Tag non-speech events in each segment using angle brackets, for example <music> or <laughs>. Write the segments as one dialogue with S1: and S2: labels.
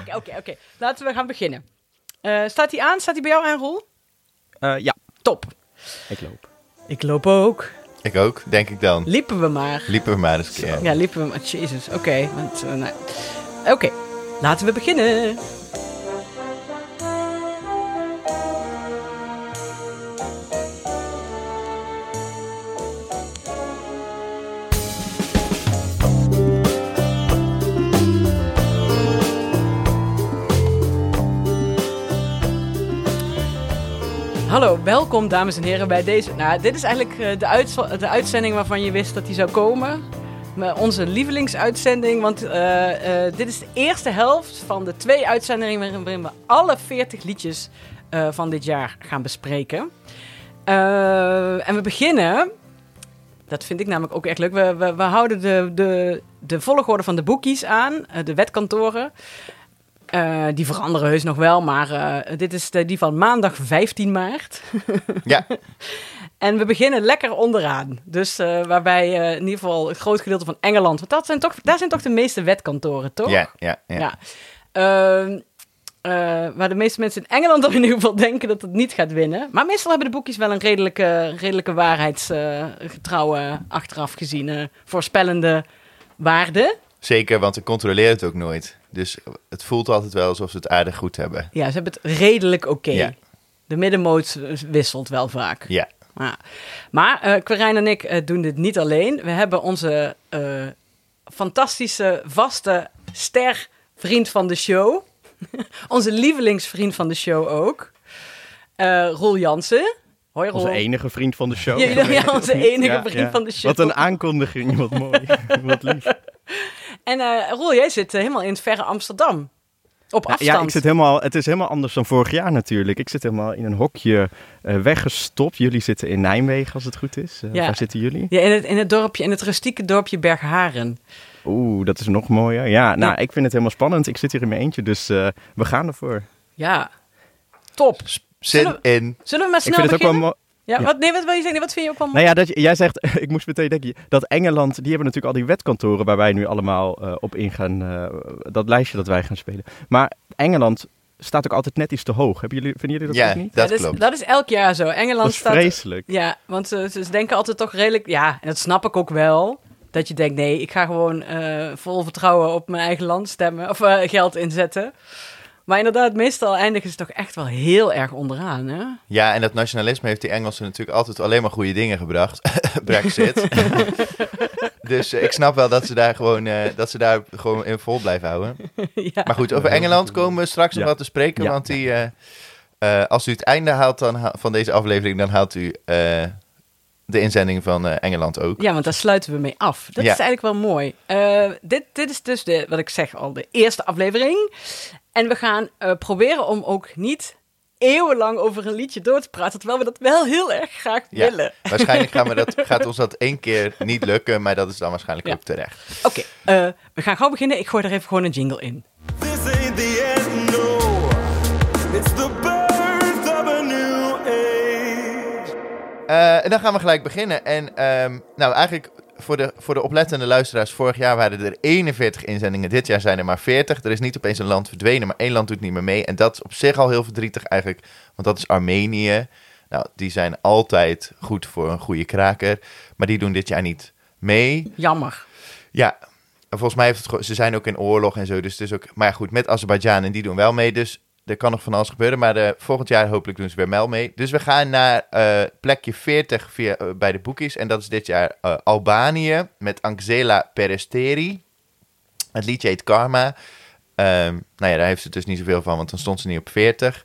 S1: Oké, oké, oké. Laten we gaan beginnen. Eh, staat die aan? Staat die bij jou aan, Roel?
S2: Eh, ja,
S1: Top.
S2: ik loop.
S1: Ik loop ook.
S3: Ik ook, denk ik dan.
S1: Liepen we maar.
S3: Liepen we maar eens een keer.
S1: Ja, liepen we maar. Jezus, oké. want, eh, nou. Oké, laten we beginnen. Hallo, welkom dames en heren bij deze. Nou, dit is eigenlijk eh, de, uitz- de uitzending waarvan je wist dat die zou komen. Maar Onze lievelingsuitzending, want eh, eh, dit is de eerste helft van de twee uitzendingen waarin- waarin we alle 40 liedjes eh, van dit jaar gaan bespreken. Eh, en we beginnen, dat vind ik namelijk ook echt leuk, we, we, we houden de, de, de volgorde van de boekies aan, eh, de wetkantoren. Eh, die veranderen heus nog wel, maar eh, dit is de, die van maandag 15 maart. <laughs>
S3: Ja,
S1: En we beginnen lekker onderaan. Dus eh, waarbij eh, in ieder geval het groot gedeelte van Engeland. Want dat zijn toch, daar zijn toch de meeste wetkantoren, toch?
S3: ja, ja. ja.
S1: ja. Ehm, eh, waar de meeste mensen in Engeland <laughs> dan in ieder geval denken dat het niet gaat winnen. Maar meestal hebben de boekjes wel een redelijke, redelijke waarheidsgetrouwe, achteraf gezien, eh, voorspellende waarde.
S3: Zeker, want we controleren het ook nooit. Dus het voelt altijd wel alsof ze het aardig goed hebben.
S1: Ja, ze hebben het redelijk oké.
S3: Ja.
S1: De middenmoot wisselt wel vaak.
S3: Ja,
S1: Ja. Maar eh Quirijn en ik eh, doen dit niet alleen. We hebben onze eh, fantastische, vaste ster vriend van de show. <laughs> onze lievelingsvriend van de show ook. Eh Roel Jansen. Hoi Roel.
S2: Onze enige vriend van de show.
S1: Ja, ja, ja, onze enige
S2: Ja,
S1: vriend
S2: ja.
S1: van de show.
S2: Wat een aankondiging, wat
S1: <laughs>
S2: mooi. wat lief.
S1: En eh, Roel, jij zit eh, helemaal in het verre Amsterdam. Op afstand.
S2: Ja, ik zit helemaal, het is helemaal anders dan vorig jaar natuurlijk. Ik zit helemaal in een hokje eh, weggestopt. Jullie zitten in Nijmegen, als het goed is. Eh,
S1: Ja.
S2: Waar zitten jullie?
S1: Ja, in, het, in het dorpje, in het rustieke dorpje Bergharen.
S2: Oeh, dat is nog mooier. Ja, nou,
S1: Ja.
S2: ik vind het helemaal spannend. Ik zit hier in mijn eentje, dus eh, we gaan ervoor.
S1: Ja, top.
S3: zin
S1: Zullen
S3: in.
S1: Zullen we maar
S2: ik
S1: snel
S2: vind het ook wel
S1: beginnen?
S2: mooi.
S1: ja,
S2: ja.
S1: Wat, nee, wat wil je zeggen? Nee, Wat vind je ook wel
S2: Nou ja, dat, je- jij zegt, <laughs> ik moest meteen denken, dat Engeland, die hebben natuurlijk al die wetkantoren waar wij nu allemaal eh, op ingaan, eh, dat lijstje dat wij gaan spelen. Maar Engeland staat ook altijd net iets te hoog. Hebben jullie, vinden jullie dat
S3: Ja,
S2: ook niet?
S3: dat
S1: is,
S3: klopt.
S1: Dat is elk jaar zo. Engeland
S2: Dat is
S1: staat...
S2: vreselijk.
S1: Ja, want ze, ze denken altijd toch redelijk... Ja, en dat snap ik ook wel. Dat je denkt, nee, ik ga gewoon eh, vol vertrouwen op mijn eigen land stemmen. Of eh, geld inzetten. Maar inderdaad, meestal eindigen ze toch echt wel heel erg onderaan, hè? <laughs>
S3: Ja, en dat nationalisme heeft die Engelsen natuurlijk altijd alleen maar goede dingen gebracht. <laughs>
S1: <laughs>
S3: Brexit. dus eh, ik snap wel dat ze daar gewoon, eh, dat ze daar gewoon in vol blijven houden.
S1: ja.
S3: Maar goed, over Engeland komen we straks nog
S2: Ja.
S3: wat te spreken.
S2: Ja.
S3: Want die, eh, eh, als u het einde haalt dan ha- van deze aflevering, dan haalt u eh, de inzending van eh, Engeland ook.
S1: ja, want daar sluiten we mee af. Dat
S3: Ja.
S1: is eigenlijk wel mooi. Eh, dit, dit is dus, de, wat ik zeg al, de eerste aflevering. En we gaan eh, proberen om ook niet eeuwenlang over een liedje door te praten. Terwijl we dat wel heel erg graag
S3: Ja.
S1: willen. <laughs>
S3: Waarschijnlijk gaan we dat, gaat ons dat één keer niet lukken, maar dat is dan waarschijnlijk
S1: Ja.
S3: ook terecht.
S1: Oké, eh, we gaan gauw beginnen. Ik gooi er even gewoon een jingle in.
S4: This ain't the end, no. It's the birth of a new age.
S3: Eh, en dan gaan we gelijk beginnen. En ehm, nou, eigenlijk voor de, voor de oplettende luisteraars, vorig jaar waren er 41 inzendingen. Dit jaar zijn er maar 40. Er is niet opeens een land verdwenen, maar één land doet niet meer mee. En dat is op zich al heel verdrietig eigenlijk, want dat is Armenië. Nou, die zijn altijd goed voor een goede kraker, maar die doen dit jaar niet mee.
S1: Jammer.
S3: Ja, en volgens mij heeft het gewoon- ze zijn ook in oorlog en zo. Dus het is ook, maar ja, goed, met Azerbeidzjan en die doen wel mee. Dus er kan nog van alles gebeuren. Maar eh, volgend jaar hopelijk doen ze weer wel mee. Dus we gaan naar eh, plekje 40 via, eh, bij de boekies. En dat is dit jaar eh, Albanië met Angela Peresteri. Het liedje heet Karma. Ehm, nou ja, daar heeft ze dus niet zoveel van, want dan stond ze niet op 40.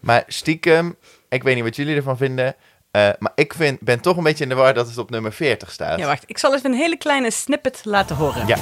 S3: Maar stiekem, ik weet niet wat jullie ervan vinden. eh, maar ik vind, ben toch een beetje in de war dat het op nummer 40 staat.
S1: Ja, wacht. Ik zal even een hele kleine snippet laten horen.
S3: Ja.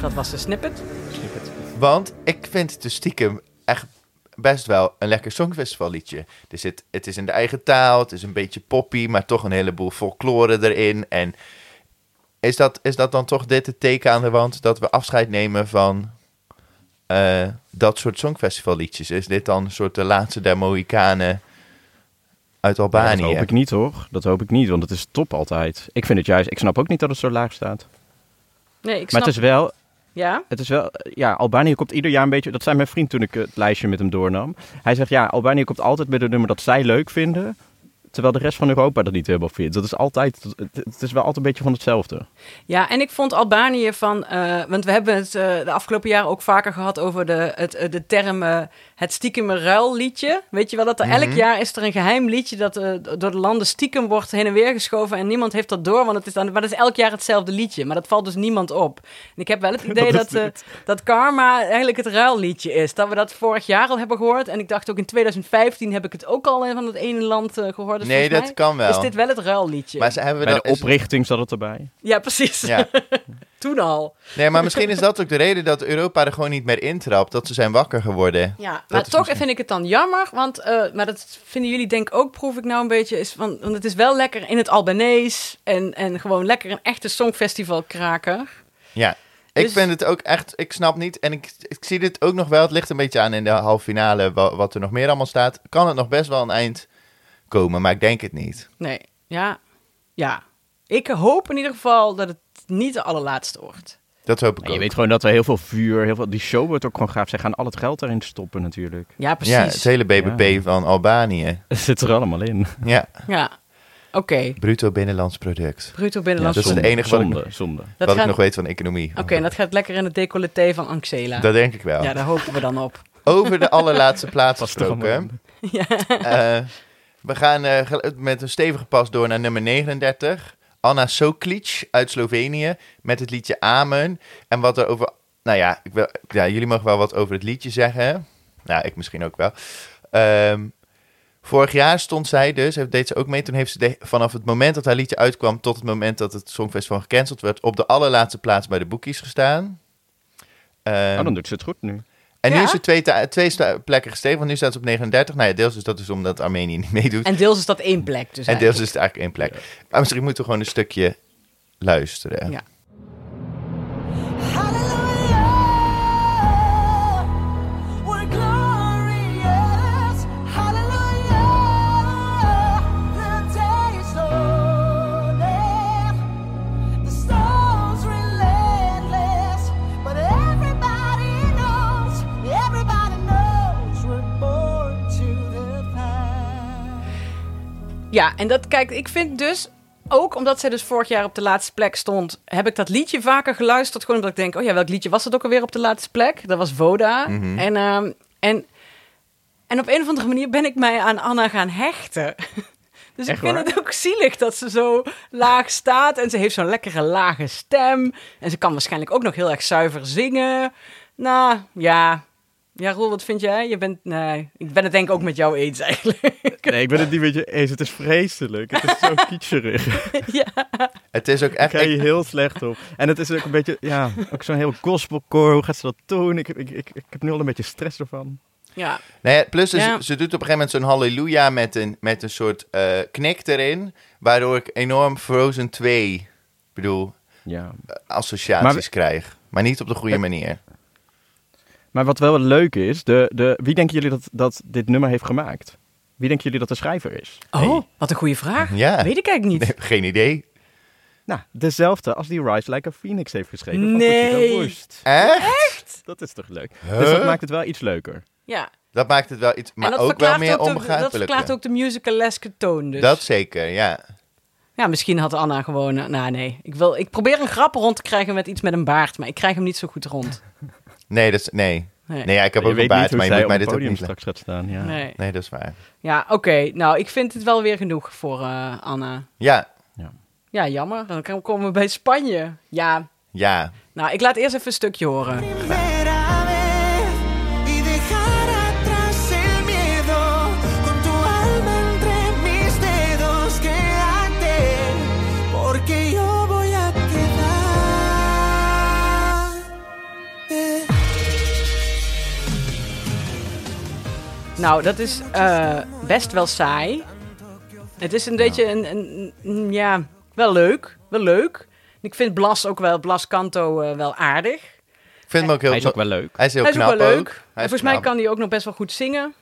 S1: Dat was de snippet.
S3: Want ik vind het dus stiekem echt best wel een lekker songfestivalliedje. Dus het, het is in de eigen taal, het is een beetje poppy, maar toch een heleboel folklore erin. En Is dat, is dat dan toch dit het teken aan de wand dat we afscheid nemen van eh, dat soort songfestivalliedjes? Is dit dan een soort de laatste der Mohikanen uit
S2: Ja, dat
S3: Albanië?
S2: hoop ik niet hoor. Dat hoop ik niet, want het is top altijd. Ik vind het juist, ik snap ook niet dat het zo laag staat.
S1: Nee, ik
S2: Maar
S1: snap...
S2: het is wel,
S1: Ja?
S2: Het is wel, ja, Albanië komt ieder jaar een beetje. Dat zei mijn vriend toen ik het lijstje met hem doornam. Hij zegt ja, Albanië komt altijd met een nummer dat zij leuk vinden. Terwijl de rest van Europa dat niet helemaal vindt. Dat is altijd, het, het is wel altijd een beetje van hetzelfde.
S1: Ja, en ik vond Albanië van... eh, want we hebben het eh, de afgelopen jaren ook vaker gehad over de, het, eh, de term eh, het stiekeme ruilliedje. Weet je wel, dat er
S3: Mhm.
S1: elk jaar is er een geheim liedje dat eh, door de landen stiekem wordt heen en weer geschoven. En niemand heeft dat door, want het is dan... Maar dat is elk jaar hetzelfde liedje. Maar dat valt dus niemand op. En ik heb
S3: <laughs>
S1: wel het idee
S2: Dat is
S1: dat, eh, dat Karma eigenlijk het ruilliedje is. Dat we dat vorig jaar al hebben gehoord. En ik dacht ook in 2015 heb ik het ook al van het ene land eh, gehoord. Dus
S3: nee,
S1: volgens
S3: dat
S1: mij
S3: kan wel.
S1: Is dit wel het ruilliedje?
S3: Maar ze hebben
S2: Bij
S3: dat,
S2: de oprichting zat het erbij.
S1: Ja, precies.
S3: is- ja.
S1: <laughs> Toen al.
S3: Nee, maar misschien is dat ook de reden dat Europa er gewoon niet meer intrapt. Dat ze zijn wakker geworden.
S1: Ja, maar
S3: Dat is
S1: toch
S3: misschien-
S1: vind ik het dan jammer. Want, eh, maar dat vinden jullie denk ik ook, proef ik nou een beetje. Is van, want het is wel lekker in het Albanees. En, en gewoon lekker een echte songfestival kraken.
S3: Ja. Ik
S1: Dus-
S3: vind het ook echt, ik snap niet. En ik, ik zie dit ook nog wel. Het ligt een beetje aan in de halve finale wa- wat er nog meer allemaal staat. Kan het nog best wel een eind komen, maar ik denk het niet.
S1: Nee, ja. Ja. Ik hoop in ieder geval dat het niet de allerlaatste wordt.
S3: Dat hoop ik
S2: En je
S3: ook.
S2: weet gewoon dat er heel veel vuur, heel veel, die show wordt ook gewoon gaaf. Zij gaan al het geld daarin stoppen natuurlijk.
S1: Ja,
S3: ja, het
S1: precies. Ja.
S3: hele BBP
S2: Ja.
S3: van Albanië.
S2: <laughs> Het zit er allemaal in.
S3: Ja,
S1: Oké.
S3: bruto binnenlands product.
S1: Bruto
S2: Ja,
S1: binnenlands
S3: dat is
S1: product.
S3: de enige wat ik-
S2: zonde. zonde.
S1: Dat
S3: wat
S1: gaat-
S3: ik nog weet van economie.
S1: Oké, en dat gaat lekker in het decolleté van Anxela.
S3: Dat denk ik wel.
S1: Ja, daar hopen we dan op.
S3: Over de allerlaatste
S2: <laughs>
S3: plaats
S2: Past er allemaal
S3: gesproken.
S2: in.
S3: Eh, we gaan eh, gel- met een stevige pas door naar nummer 39. Anna Soklic uit Slovenië met het liedje Amen. En wat er over... Nou ja, ik wil, ja, jullie mogen wel wat over het liedje zeggen. Nou, ik misschien ook wel. Ehm, vorig jaar stond zij dus, heeft- deed ze ook mee. Toen heeft ze de- vanaf het moment dat haar liedje uitkwam... tot het moment dat het Songfestival gecanceld werd... op de allerlaatste plaats bij de boekies gestaan. Ehm,
S2: Oh, dan doet ze het goed <laughs> nu.
S3: en nu
S1: Ja?
S3: is ze twee, ta- twee sta- plekken gestegen, want nu staat ze op 39. Nou ja, deels is dat dus omdat Armenië niet meedoet. En,
S1: En deels is dat één plek. Dus
S3: deels
S1: eigenlijk.
S3: is het eigenlijk één plek. Maar misschien moeten we gewoon een stukje luisteren.
S1: Ja.
S5: Hallelujah, we're glorious. Hallelujah, the day is dawning. The storm's relentless, but everybody knows. Everybody knows we're born to the fight.
S1: Ja, en dat, kijk, ik vind dus, ook omdat zij dus vorig jaar op de laatste plek stond, heb ik dat liedje vaker geluisterd. Gewoon omdat ik denk, oh ja, welk liedje was dat ook alweer op de laatste plek? Dat was Voda.
S2: Mhm.
S1: En, ehm, en, en op een of andere manier ben ik mij aan Anna gaan hechten. <laughs> Dus ik
S2: Echt
S1: vind
S2: waar?
S1: het ook zielig dat ze zo laag staat. En ze heeft zo'n lekkere lage stem. En ze kan waarschijnlijk ook nog heel erg zuiver zingen. Nou, ja. Ja, Roel, wat vind jij? Je bent... Nee, ik ben het denk ik ook met jou eens <laughs> eigenlijk.
S2: Nee, ik ben het niet met je eens. Het is vreselijk. Het is <laughs> zo kitscherig.
S3: Het is ook echt...
S2: Daar ga je
S3: Ik,
S2: heel slecht op. En het is ook een beetje, ja, ook zo'n heel gospelcore. Hoe gaat ze dat doen? Ik, ik, ik, ik heb nu al een beetje stress ervan.
S1: Ja.
S3: nou ja, plus, dus
S1: Ja.
S3: ze doet op een gegeven moment zo'n halleluja met een, met een soort eh, knik erin. Waardoor ik enorm Frozen 2, ik bedoel, eh,
S2: Ja.
S3: associaties
S2: Maar-
S3: krijg. Maar niet op de goede manier. <laughs>
S2: Maar wat wel leuk is, de, de, wie denken jullie dat, dat dit nummer heeft gemaakt? Wie denken jullie dat de schrijver is?
S1: Oh, wat een goede vraag.
S3: <laughs> Ja.
S1: Weet ik eigenlijk
S3: Nee,
S1: niet.
S3: geen idee.
S2: Nou, dezelfde als die Rise Like a Phoenix heeft geschreven. van
S1: Nee.
S2: Conchita Wurst.
S3: Echt?
S2: Dat is toch leuk? Dus dat maakt het wel iets leuker.
S1: Ja.
S3: Dat maakt het wel iets,
S1: en
S3: maar
S1: dat
S3: ook wel
S1: verklaart
S3: meer
S1: ook de, Dat verklaart
S3: onbegrijpelijk.
S1: ook de musicaleske toon dus.
S3: Dat zeker, ja.
S1: Ja, misschien had Anna gewoon... eh, Nou, nee. Ik, wil, ik probeer een grap rond te krijgen met iets met een baard, maar ik krijg hem niet zo goed rond.
S3: Nee, dat is, nee.
S1: Nee.
S3: Nee, ja, ik heb
S2: Je
S3: ook een
S2: weet
S3: baard,
S2: niet
S3: maar
S2: hoe
S3: je
S2: zij
S3: moet
S2: op
S3: mij
S2: het
S3: dit ook
S2: podium
S3: niet... le-
S2: straks gaat staan. Ja.
S1: Nee.
S3: Nee, dat is waar.
S1: Ja, oké. Nou, ik vind het wel weer genoeg voor eh, Anna.
S3: Ja,
S1: Ja, jammer. Dan komen we bij Spanje. Ja.
S3: ja.
S1: Nou, ik laat eerst even een stukje horen.
S5: primera vez y dejar atrás el miedo con tu alma entre mis dedos quédate porque yo voy a quedar
S1: Nou, dat is eh, best wel mm, saai. Het is een beetje een, een, een- ja, wel leuk. Wel leuk. Ik vind Blas ook wel, Blas Kanto eh, wel aardig.
S3: Ik vind hem ook heel,
S2: Hij is ook wel leuk.
S3: hij is heel
S1: hij is
S3: knap
S1: ook wel leuk.
S3: Hij is
S1: En volgens mij
S3: knap.
S1: kan hij ook nog best wel goed zingen.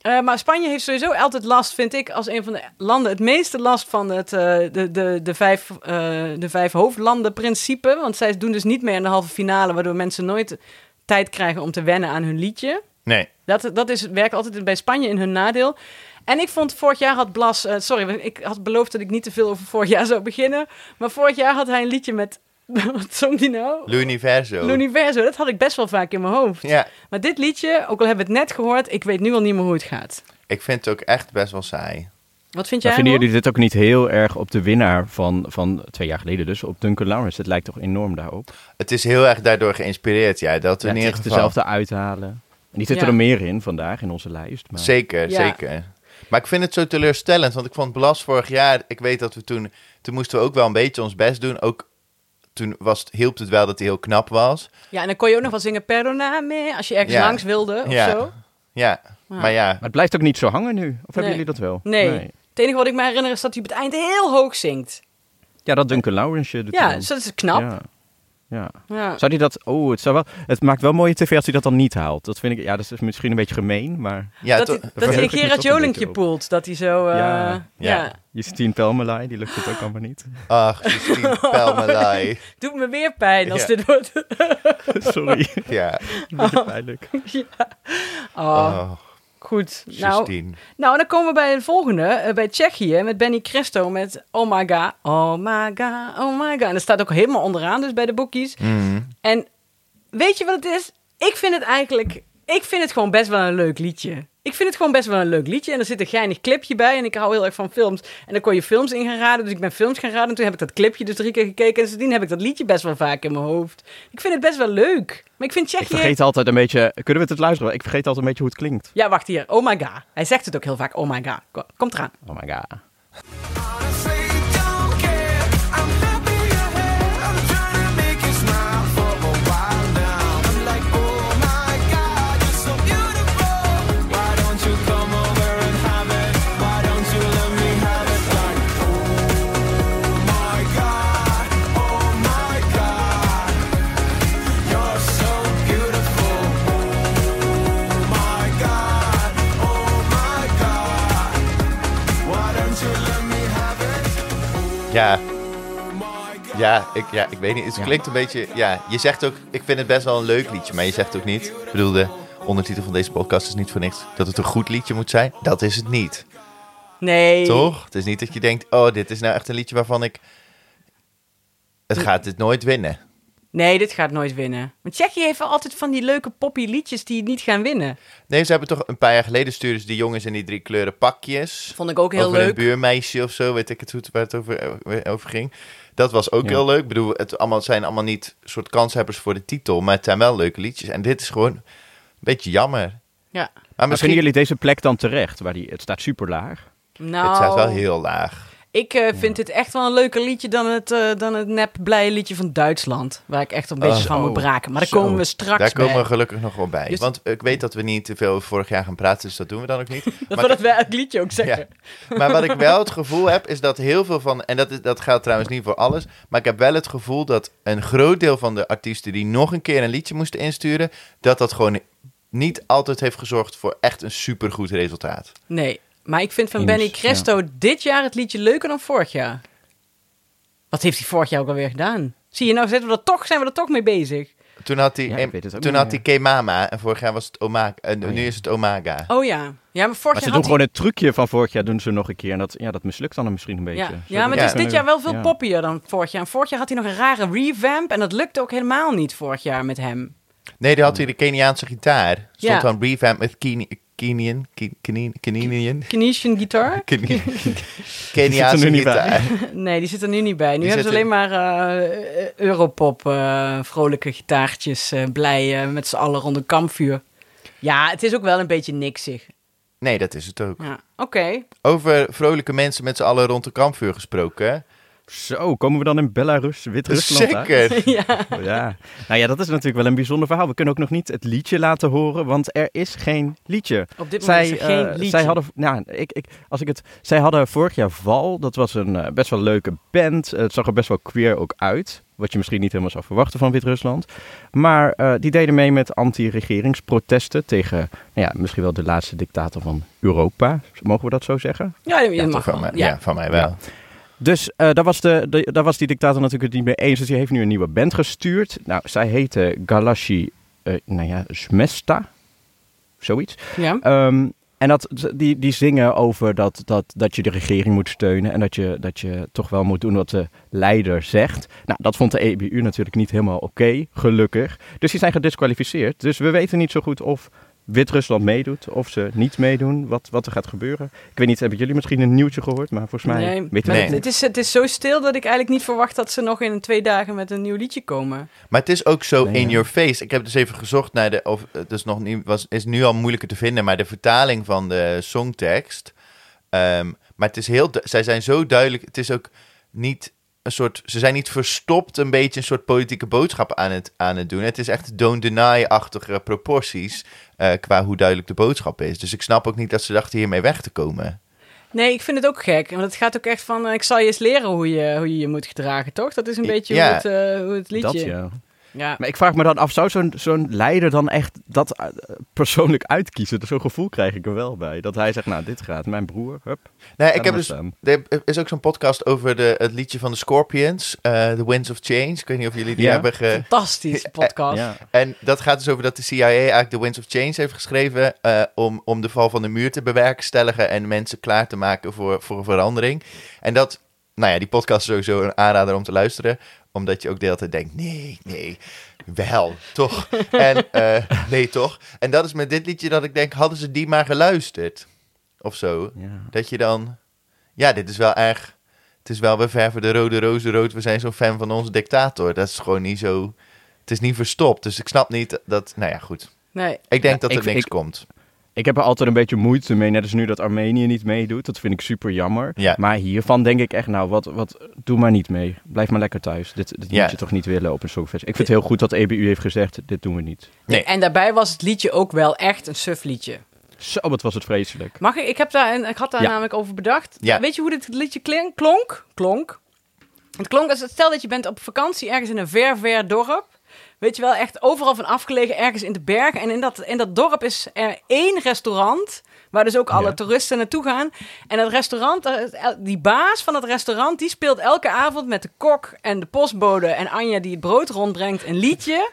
S1: Eh, maar Spanje heeft sowieso altijd last, vind ik, als een van de landen het meeste last van het, eh, de, de, de, vijf, eh, de vijf hoofdlandenprincipe. Want zij doen dus niet meer in de halve finale, waardoor mensen nooit tijd krijgen om te wennen aan hun liedje.
S3: Nee,
S1: Dat, dat is, werkt altijd bij Spanje in hun nadeel. En ik vond vorig jaar had Blas. eh, sorry, ik had beloofd dat ik niet te veel over vorig jaar zou beginnen. Maar vorig jaar had hij een liedje met. <laughs> Wat zong die nou?
S3: L'Universo.
S1: L'Universo. Dat had ik best wel vaak in mijn hoofd.
S3: Ja,
S1: Maar dit liedje, ook al hebben we het net gehoord, ik weet nu al niet meer hoe het gaat. Ik
S3: vind het ook echt best wel saai.
S1: Wat vind jij?
S2: Maar vinden
S1: Roel?
S2: jullie dit ook niet heel erg op de winnaar van, van twee jaar geleden dus, op Duncan Lawrence? Het lijkt toch enorm daarop?
S3: Het is heel erg daardoor geïnspireerd, ja. Dat
S2: Ja,
S3: in
S2: het
S3: ieder
S2: is
S3: geval.
S2: dezelfde uithalen. Niet zit
S1: Ja.
S2: er meer in vandaag in onze lijst. Maar...
S3: Zeker,
S1: Ja.
S3: zeker. Maar ik vind het zo teleurstellend, want ik vond Blas vorig jaar... Ik weet dat we toen... Toen moesten we ook wel een beetje ons best doen. Ook toen was, het- hielp het wel dat hij heel knap was.
S1: Ja, en dan kon je ook nog wel zingen Perdoname als je ergens
S3: Ja.
S1: langs wilde of
S3: Ja.
S1: zo. Ah.
S3: Ja, maar ja.
S2: Maar het blijft ook niet zo hangen nu. Of
S1: Nee.
S2: hebben jullie dat wel?
S1: Nee. Het enige wat ik me herinner is dat hij op het eind heel hoog zingt.
S2: Ja, dat Duncan Lawrence je doet.
S1: Ja,
S2: dan.
S1: dus dat is knap.
S2: Ja. Ja.
S1: Ja.
S2: Zou hij dat... Oh, het, zou wel, het maakt wel mooie tv als hij dat dan niet haalt. Dat vind ik... Ja, dat is misschien een beetje gemeen, maar...
S3: ja
S1: dat
S3: to-
S1: hij, dat hij een
S2: verheug ik me
S1: Gerard
S2: toch een
S1: Jolinkje
S2: beetje op.
S1: poelt. Dat hij zo... eh,
S2: Ja.
S1: ja.
S3: Ja.
S2: Justine Pelmelai, die lukt het ook allemaal niet. <laughs>
S3: Ach,
S1: <laughs>
S3: Justine Pelmelai.
S1: Doet me weer pijn als
S3: Ja.
S1: dit wordt... <laughs>
S2: Sorry, <laughs>
S3: Ja,
S2: een beetje pijnlijk.
S1: Oh,
S3: oh,
S1: goed. Nou,
S3: Justine.
S1: nou, en dan komen we bij de volgende. eh, bij Tsjechië met Benny Christo met Oh my god, oh my god, oh my god. En dat staat ook helemaal onderaan dus bij de boekies.
S3: Mm.
S1: En weet je wat het is? Ik vind het eigenlijk... Ik vind het gewoon best wel een leuk liedje. Ik vind het gewoon best wel een leuk liedje. En er zit een geinig clipje bij. En ik hou heel erg van films. En dan kon je films in gaan raden. Dus ik ben films gaan raden. En toen heb ik dat clipje dus drie keer gekeken. En sindsdien heb ik dat liedje best wel vaak in mijn hoofd. Ik vind het best wel leuk. Maar ik vind
S2: Ik
S1: Tsjechië...
S2: vergeet altijd een beetje... Kunnen we het het luisteren? Ik vergeet altijd een beetje hoe het klinkt.
S1: Ja, wacht hier. Oh my god. Hij zegt het ook heel vaak. Oh my god. Kom, komt eraan.
S2: Oh my god.
S5: Honestly, don't care. I'm happy you're here. I'm trying to make you smile for a while now. I'm like, oh my god, you're so beautiful. Why don't you come over and have it? Why don't you let me have it? Like, oh my god, oh my god, you're so beautiful. Oh my god, oh my god, why don't you let me have it?
S3: Ja. Ja ik, ja, ik weet niet. Het klinkt een beetje... Ja, je zegt ook... Ik vind het best wel een leuk liedje, maar je zegt ook niet... Ik bedoel, de ondertitel van deze podcast is niet voor niks... dat het een goed liedje moet zijn. Dat is het niet.
S1: Nee.
S3: Toch? Het is niet dat je denkt... Oh, dit is nou echt een liedje waarvan ik... Het gaat dit nooit winnen.
S1: Nee, dit gaat nooit winnen. Want Tsjechië heeft wel altijd van die leuke poppy liedjes die niet gaan winnen.
S3: Nee, ze hebben toch een paar jaar geleden stuurden ze die jongens in die drie kleuren pakjes.
S1: Vond ik ook heel
S3: over een
S1: leuk.
S3: buurmeisje of zo, weet ik het hoe het, waar het over, eh, over ging. Dat was ook
S2: Ja.
S3: heel leuk. Ik bedoel, het allemaal, zijn allemaal niet soort kanshebbers voor de titel, maar het zijn wel leuke liedjes. En dit is gewoon een beetje jammer.
S1: Ja.
S3: Maar
S2: Maar
S3: misschien...
S2: vinden jullie deze plek dan terecht? Waar die, het staat super laag.
S1: Nou,
S3: Het staat wel heel laag.
S1: ik eh, vind dit echt wel een leuker liedje dan het, eh, dan het nep blije liedje van Duitsland. Waar ik echt een beetje
S3: Oh,
S1: van moet
S2: zo.
S1: braken. Maar daar
S2: Zo.
S1: komen we straks
S3: Daar komen
S1: bij.
S3: we gelukkig nog wel bij.
S1: Dus-
S3: Want ik weet dat we niet te veel over vorig jaar gaan praten, dus dat doen we dan ook
S1: <laughs>
S3: niet.
S1: Dat
S3: Maar-
S1: we dat bij het liedje ook zeggen.
S3: Ja. Maar wat ik wel het gevoel heb, is dat heel veel van... En dat, is, dat geldt trouwens niet voor alles. Maar ik heb wel het gevoel dat een groot deel van de artiesten... die nog een keer een liedje moesten insturen... dat dat gewoon niet altijd heeft gezorgd voor echt een supergoed resultaat.
S1: Nee, maar ik vind van
S2: Eens,
S1: Benny Cresto dit jaar het liedje leuker dan vorig jaar. Wat heeft hij vorig jaar ook alweer gedaan? Zie je, nou zitten we er toch, zijn we er toch mee bezig.
S3: Toen had hij,
S2: Ja, ik weet het ook
S3: toen
S2: niet
S3: had hij
S2: meer. Oh,
S3: K-Mama en vorig jaar was het Omaga. En nu is het Omaga.
S1: Oh ja. Ja, maar vorig
S2: Maar ze
S1: jaar
S2: doen
S1: had
S2: gewoon
S1: hij...
S2: het trucje van vorig jaar doen ze nog een keer. En dat, ja, dat mislukt dan misschien een beetje.
S1: Ja.
S2: Zou
S1: ja, maar
S2: dat
S1: het is
S2: kunnen?
S1: dit jaar wel veel
S2: Ja.
S1: poppier dan vorig jaar. En vorig jaar had hij nog een rare revamp en dat lukte ook helemaal niet vorig jaar met hem.
S3: Nee, daar had hij de Keniaanse gitaar. Stond
S1: Ja.
S3: dan revamp met Keni- Kenian. Ke- Kenin- Keninian.
S1: Kenesian
S2: <laughs>
S1: guitar?
S3: Kenin- Keniaanse
S2: niet bij.
S3: gitaar.
S1: Nee, die zit er nu niet bij. Nu
S3: Die
S1: hebben ze
S3: zit
S1: alleen
S3: er-
S1: maar eh, eh, Europop, eh, vrolijke gitaartjes, eh, blij eh, met z'n allen rond een kampvuur. Ja, het is ook wel een beetje niksig.
S3: Nee, dat is het ook.
S1: Ja, oké.
S3: Over vrolijke mensen met z'n allen rond de kampvuur gesproken.
S2: Zo, komen we dan in Belarus, Wit-Rusland uit?
S3: Zeker.
S1: <laughs> ja.
S2: Ja. Nou ja, dat is natuurlijk wel een bijzonder verhaal. We kunnen ook nog niet het liedje laten horen, want er is geen liedje.
S1: Op dit moment is er geen
S2: eh,
S1: liedje.
S2: Zij hadden, nou, ik, ik, als ik het, zij hadden vorig jaar Val, dat was een eh, best wel leuke band. Eh, het zag er best wel queer ook uit, wat je misschien niet helemaal zou verwachten van Wit-Rusland. Maar eh, die deden mee met anti-regeringsprotesten tegen, nou ja, misschien wel de laatste dictator van Europa. Mogen we dat zo zeggen?
S1: Ja, je
S3: Ja, toch
S1: mag
S3: van,
S1: wel.
S3: mij,
S1: Ja.
S3: ja, van mij wel.
S2: Dus eh, daar, was de, de- daar was die dictator natuurlijk het niet mee eens. Dus die heeft nu een nieuwe band gestuurd. Nou, zij heette Galashi, eh nou ja, Smesta. Zoiets.
S1: Ja.
S2: Ehm, en dat, die, die zingen over dat, dat, dat je de regering moet steunen. En dat je, dat je toch wel moet doen wat de leider zegt. Nou, dat vond de EBU natuurlijk niet helemaal oké, gelukkig. Dus die zijn gedisqualificeerd. Dus we weten niet zo goed of Wit-Rusland meedoet. Of ze niet meedoen. Wat, wat er gaat gebeuren. Ik weet niet, hebben jullie misschien een nieuwtje gehoord? Maar volgens mij
S1: Nee,
S2: weten
S1: maar
S2: we
S3: Nee.
S2: het niet.
S1: het, is, het is zo stil dat ik eigenlijk niet verwacht dat ze nog in twee dagen met een nieuw liedje komen.
S3: Maar het is ook zo
S2: Nee,
S3: in
S2: ja.
S3: your face. Ik heb dus even gezocht naar de. Of, het is, nog niet, was, is nu al moeilijker te vinden, maar de vertaling van de songtekst. ehm, maar het is heel. du- Zij zijn zo duidelijk. Het is ook niet een soort. Ze zijn niet verstopt een beetje een soort politieke boodschap aan het, aan het doen. Het is echt don't deny-achtige proporties. eh, qua hoe duidelijk de boodschap is. Dus ik snap ook niet dat ze dachten hiermee weg te komen.
S1: Nee, ik vind het ook gek. Want het gaat ook echt van, eh, ik zal je eens leren hoe je hoe je, je moet gedragen, toch? Dat is een
S3: I-
S1: beetje
S3: ja.
S1: hoe, het, eh, hoe het liedje...
S2: Dat ja.
S1: Ja.
S2: Maar ik vraag me dan af, zou zo'n zo'n leider dan echt dat eh, persoonlijk uitkiezen? Zo'n gevoel krijg ik er wel bij. Dat hij zegt, nou dit gaat, mijn broer, hup.
S3: Nee,
S2: Laat
S3: ik heb
S2: maar
S3: dus,
S2: staan.
S3: er is ook zo'n podcast over de, het liedje van de Scorpions, eh The Winds of Change. Ik weet niet of jullie die
S2: Ja.
S3: hebben ge...
S1: Fantastische podcast.
S2: <laughs> Ja.
S3: En dat gaat dus over dat de CIA eigenlijk The Winds of Change heeft geschreven eh, om, om de val van de muur te bewerkstelligen en mensen klaar te maken voor, voor een verandering. En dat, nou ja, die podcast is sowieso een aanrader om te luisteren, omdat je ook de hele tijd denkt, nee, nee, wel, toch. en eh, nee, toch. En dat is met dit liedje dat ik denk, hadden ze die maar geluisterd? Of zo.
S2: Ja.
S3: Dat je dan, ja, dit is wel erg, het is wel, we verven de rode rozen rood, we zijn zo'n fan van onze dictator. Dat is gewoon niet zo... Het is niet verstopt, dus ik snap niet dat... Nou ja, goed.
S1: Nee.
S3: Ik denk dat
S2: ik-
S3: er niks
S2: ik-
S3: komt.
S2: Ik heb er altijd een beetje moeite mee, net als nu dat Armenië niet meedoet. Dat vind ik super jammer.
S3: Ja.
S2: Maar hiervan denk ik echt, nou wat, wat, doe maar niet mee. Blijf maar lekker thuis. Dit, dit
S3: Ja.
S2: moet je toch niet willen op een songfest. Ik vind het heel goed dat de EBU heeft gezegd, dit doen we niet.
S3: Nee.
S1: En daarbij was het liedje ook wel echt een suf liedje.
S2: Zo, wat was het vreselijk.
S1: Mag ik? Ik, heb daar, een- ik had daar
S2: Ja.
S1: namelijk over bedacht.
S3: Ja.
S1: Weet je hoe dit liedje klink, klonk? Klonk. Het klonk als, stel dat je bent op vakantie ergens in een ver, ver dorp. Weet je wel, echt overal van afgelegen, ergens in de bergen. En in dat, in dat dorp is er één restaurant, waar dus ook alle
S2: Ja.
S1: toeristen naartoe gaan. En dat restaurant, eh, el- die baas van dat restaurant, die speelt elke avond met de kok en de postbode en Anja die het brood rondbrengt een liedje.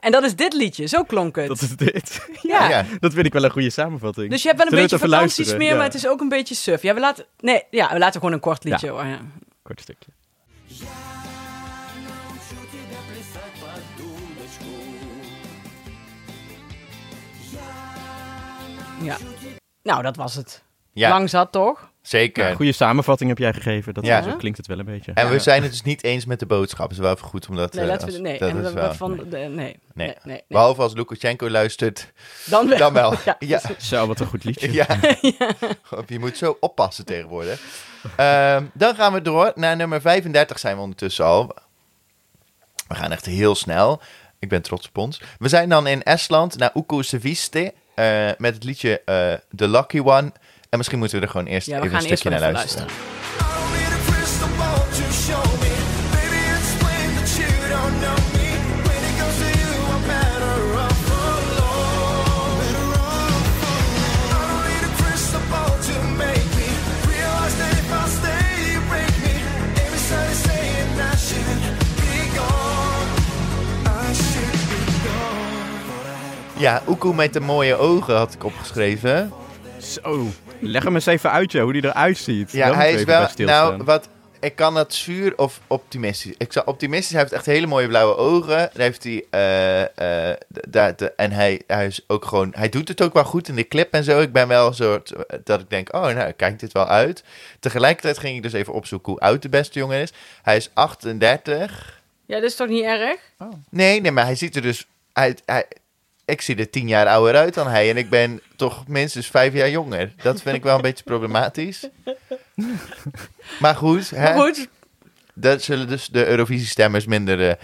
S1: En dat is dit liedje, zo klonk het.
S2: Dat is dit.
S1: ja.
S3: Ja.
S2: Dat vind ik wel een goede samenvatting.
S1: Dus je hebt wel een
S2: Zullen we
S1: beetje
S2: het even luisteren?
S1: vakantiesmeer,
S2: Ja.
S1: maar het is ook een beetje suf. Ja, we laten, nee, ja, we laten gewoon een kort liedje.
S2: Ja.
S1: hoor, Ja.
S2: Kort stukje.
S5: Я научу тебя плясать под дудочку.
S1: Ja. Nou, dat was het.
S3: Ja,
S1: Lang zat toch?
S3: zeker.
S2: Ja, goede samenvatting heb jij gegeven. Dat
S3: Ja.
S2: Zo klinkt het wel een beetje.
S3: En we zijn het dus niet eens met de boodschap. is wel even goed om dat...
S1: Nee,
S3: eh,
S1: laten we,
S3: als-
S1: nee.
S3: dat
S1: en
S3: is
S1: dat-
S3: wel-
S1: dat van, de- nee. Nee,
S3: Nee.
S1: nee, nee.
S3: Behalve als Lukashenko luistert,
S1: Dan wel.
S3: dan
S1: <laughs>
S3: wel.
S1: Ja.
S3: Ja. ja.
S2: Zo, wat een goed liedje.
S1: <laughs>
S3: Je moet zo oppassen tegenwoordig. Ehm, dan gaan we door. Naar nummer 35 zijn we ondertussen al. We gaan echt heel snel. Ik ben trots op ons. We zijn dan in Estland naar Uku Seviste. eh, met het liedje eh, The Lucky One. En misschien moeten we er gewoon eerst
S1: Ja, we
S3: even een
S1: gaan eerst
S3: stukje
S1: wel
S3: naar
S1: even
S3: luisteren.
S1: luisteren.
S4: I don't need a crystal ball to show me. Baby, it's plain that you don't know me. When it comes to you, I'm better off alone. Better off alone. I don't need a crystal ball to make me realize that if I stay, you break me. Every side is saying I should be gone. I should be gone.
S3: Ja, Oekoe met de mooie ogen had ik opgeschreven.
S2: Zo. Leg hem eens even uit, joh, hoe die eruit ziet.
S3: Ja,
S2: Daar moeten
S3: hij is
S2: we even
S3: wel.
S2: bij stilstaan.
S3: Nou, wat. Ik kan dat zuur of optimistisch. Ik zou optimistisch. Hij heeft echt hele mooie blauwe ogen. Daar heeft hij. eh, eh, d- daar- de- en hij, hij is ook gewoon. Hij doet het ook wel goed in de clip en zo. Ik ben wel een soort. eh, Dat ik denk, oh, nou, kijkt dit wel uit. Tegelijkertijd ging ik dus even opzoeken hoe oud de beste jongen is. Hij is 38.
S1: Ja, dat is toch niet erg?
S3: Nee, nee, maar hij ziet er dus. Hij, hij, ik zie er tien jaar ouder uit dan hij. En ik ben toch minstens vijf jaar jonger. Dat vind ik wel een beetje problematisch. Maar goed, hè?
S1: Maar goed,
S3: daar zullen dus de Eurovisie-stemmers minder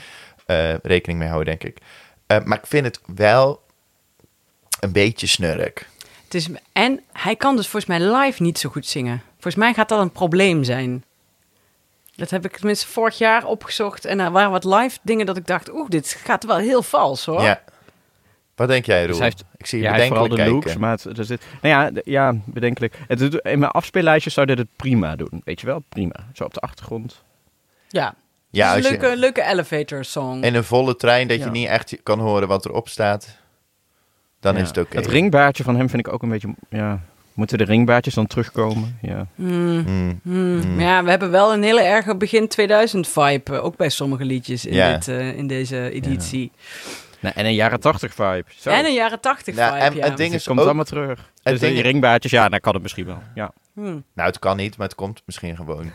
S3: eh, eh, rekening mee houden, denk ik. Eh, maar ik vind het wel een beetje snurk.
S1: Het is, en hij kan dus volgens mij live niet zo goed zingen. Volgens mij gaat dat een probleem zijn. Dat heb ik tenminste vorig jaar opgezocht. En er waren wat live dingen dat ik dacht... oeh, dit gaat wel heel vals, hoor.
S3: Ja. Wat denk jij, Roel?
S2: Dus hij heeft-
S3: ik zie je
S2: ja, hij heeft
S3: bedenkelijk
S2: vooral de
S3: kijken.
S2: looks, maar het, er zit, nou ja, d- ja, bedenkelijk. Het, doet- in mijn afspeellijstje zou dit het prima doen, weet je wel? Prima, zo op de achtergrond.
S1: ja.
S3: ja,
S1: Ja,
S3: als
S1: een
S3: je
S1: leuke, leuke elevator song.
S3: in een volle trein dat je
S2: Ja.
S3: niet echt kan horen wat erop staat, dan
S2: Ja.
S3: is het oké.
S2: Het ringbaardje van hem vind ik ook een beetje, ja... Moeten de ringbaardjes dan terugkomen? Ja.
S3: Hmm.
S1: Hmm, maar Ja, we hebben wel een hele erge begin 2000 vibe. eh, Ook bij sommige liedjes in,
S3: Ja.
S1: dit, eh, in deze editie.
S2: Nou, en een jaren tachtig vibe. Zo.
S1: En een jaren 80
S3: Ja,
S1: vibe,
S3: en
S1: ja.
S3: het ding-
S2: Dus het
S3: is
S2: komt
S3: ook-
S2: allemaal terug. Dus
S3: ding-
S2: die ringbaardjes, ja, dan kan het misschien wel. Ja.
S1: Hmm.
S3: Nou, het kan niet, maar het komt misschien gewoon.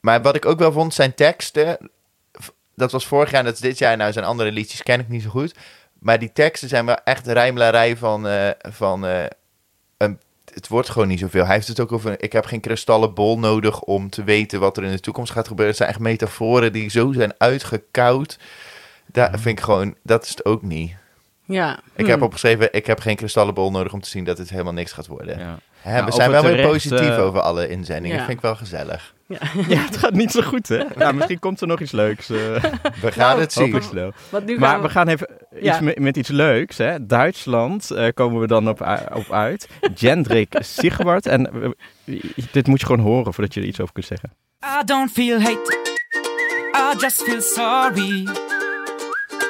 S3: Maar wat ik ook wel vond, zijn teksten. v- Dat was vorig jaar, dat is dit jaar. Nou, zijn andere liedjes ken ik niet zo goed. Maar die teksten zijn wel echt rijmlarij van... eh, van eh, een, het wordt gewoon niet zoveel. Hij heeft het ook over... Ik heb geen kristallen bol nodig om te weten wat er in de toekomst gaat gebeuren. Het zijn echt metaforen die zo zijn uitgekoud. Daar vind ik gewoon... Dat is het ook niet.
S1: Ja. Mm.
S3: Ik heb opgeschreven, ik heb geen kristallen bol nodig om te zien dat het helemaal niks gaat worden.
S2: Ja.
S3: Hè,
S2: Nou,
S3: we zijn
S2: over
S3: wel weer
S2: terecht,
S3: positief
S2: eh,
S3: over alle inzendingen.
S1: ja.
S3: Vind ik wel gezellig.
S2: <laughs> ja, het gaat niet zo goed, hè? Nou, misschien komt er nog iets leuks. eh
S3: We gaan het zien.
S2: hopelijk snel.
S1: Wat nu
S2: Maar
S1: gaan
S2: we gaan even
S1: Ja.
S2: iets me- met iets leuks. Hè? Duitsland eh, komen we dan op, u- op uit. Jendrik Sigwart. En eh, dit moet je gewoon horen voordat je er iets over kunt zeggen.
S6: I don't feel hate, I just feel sorry.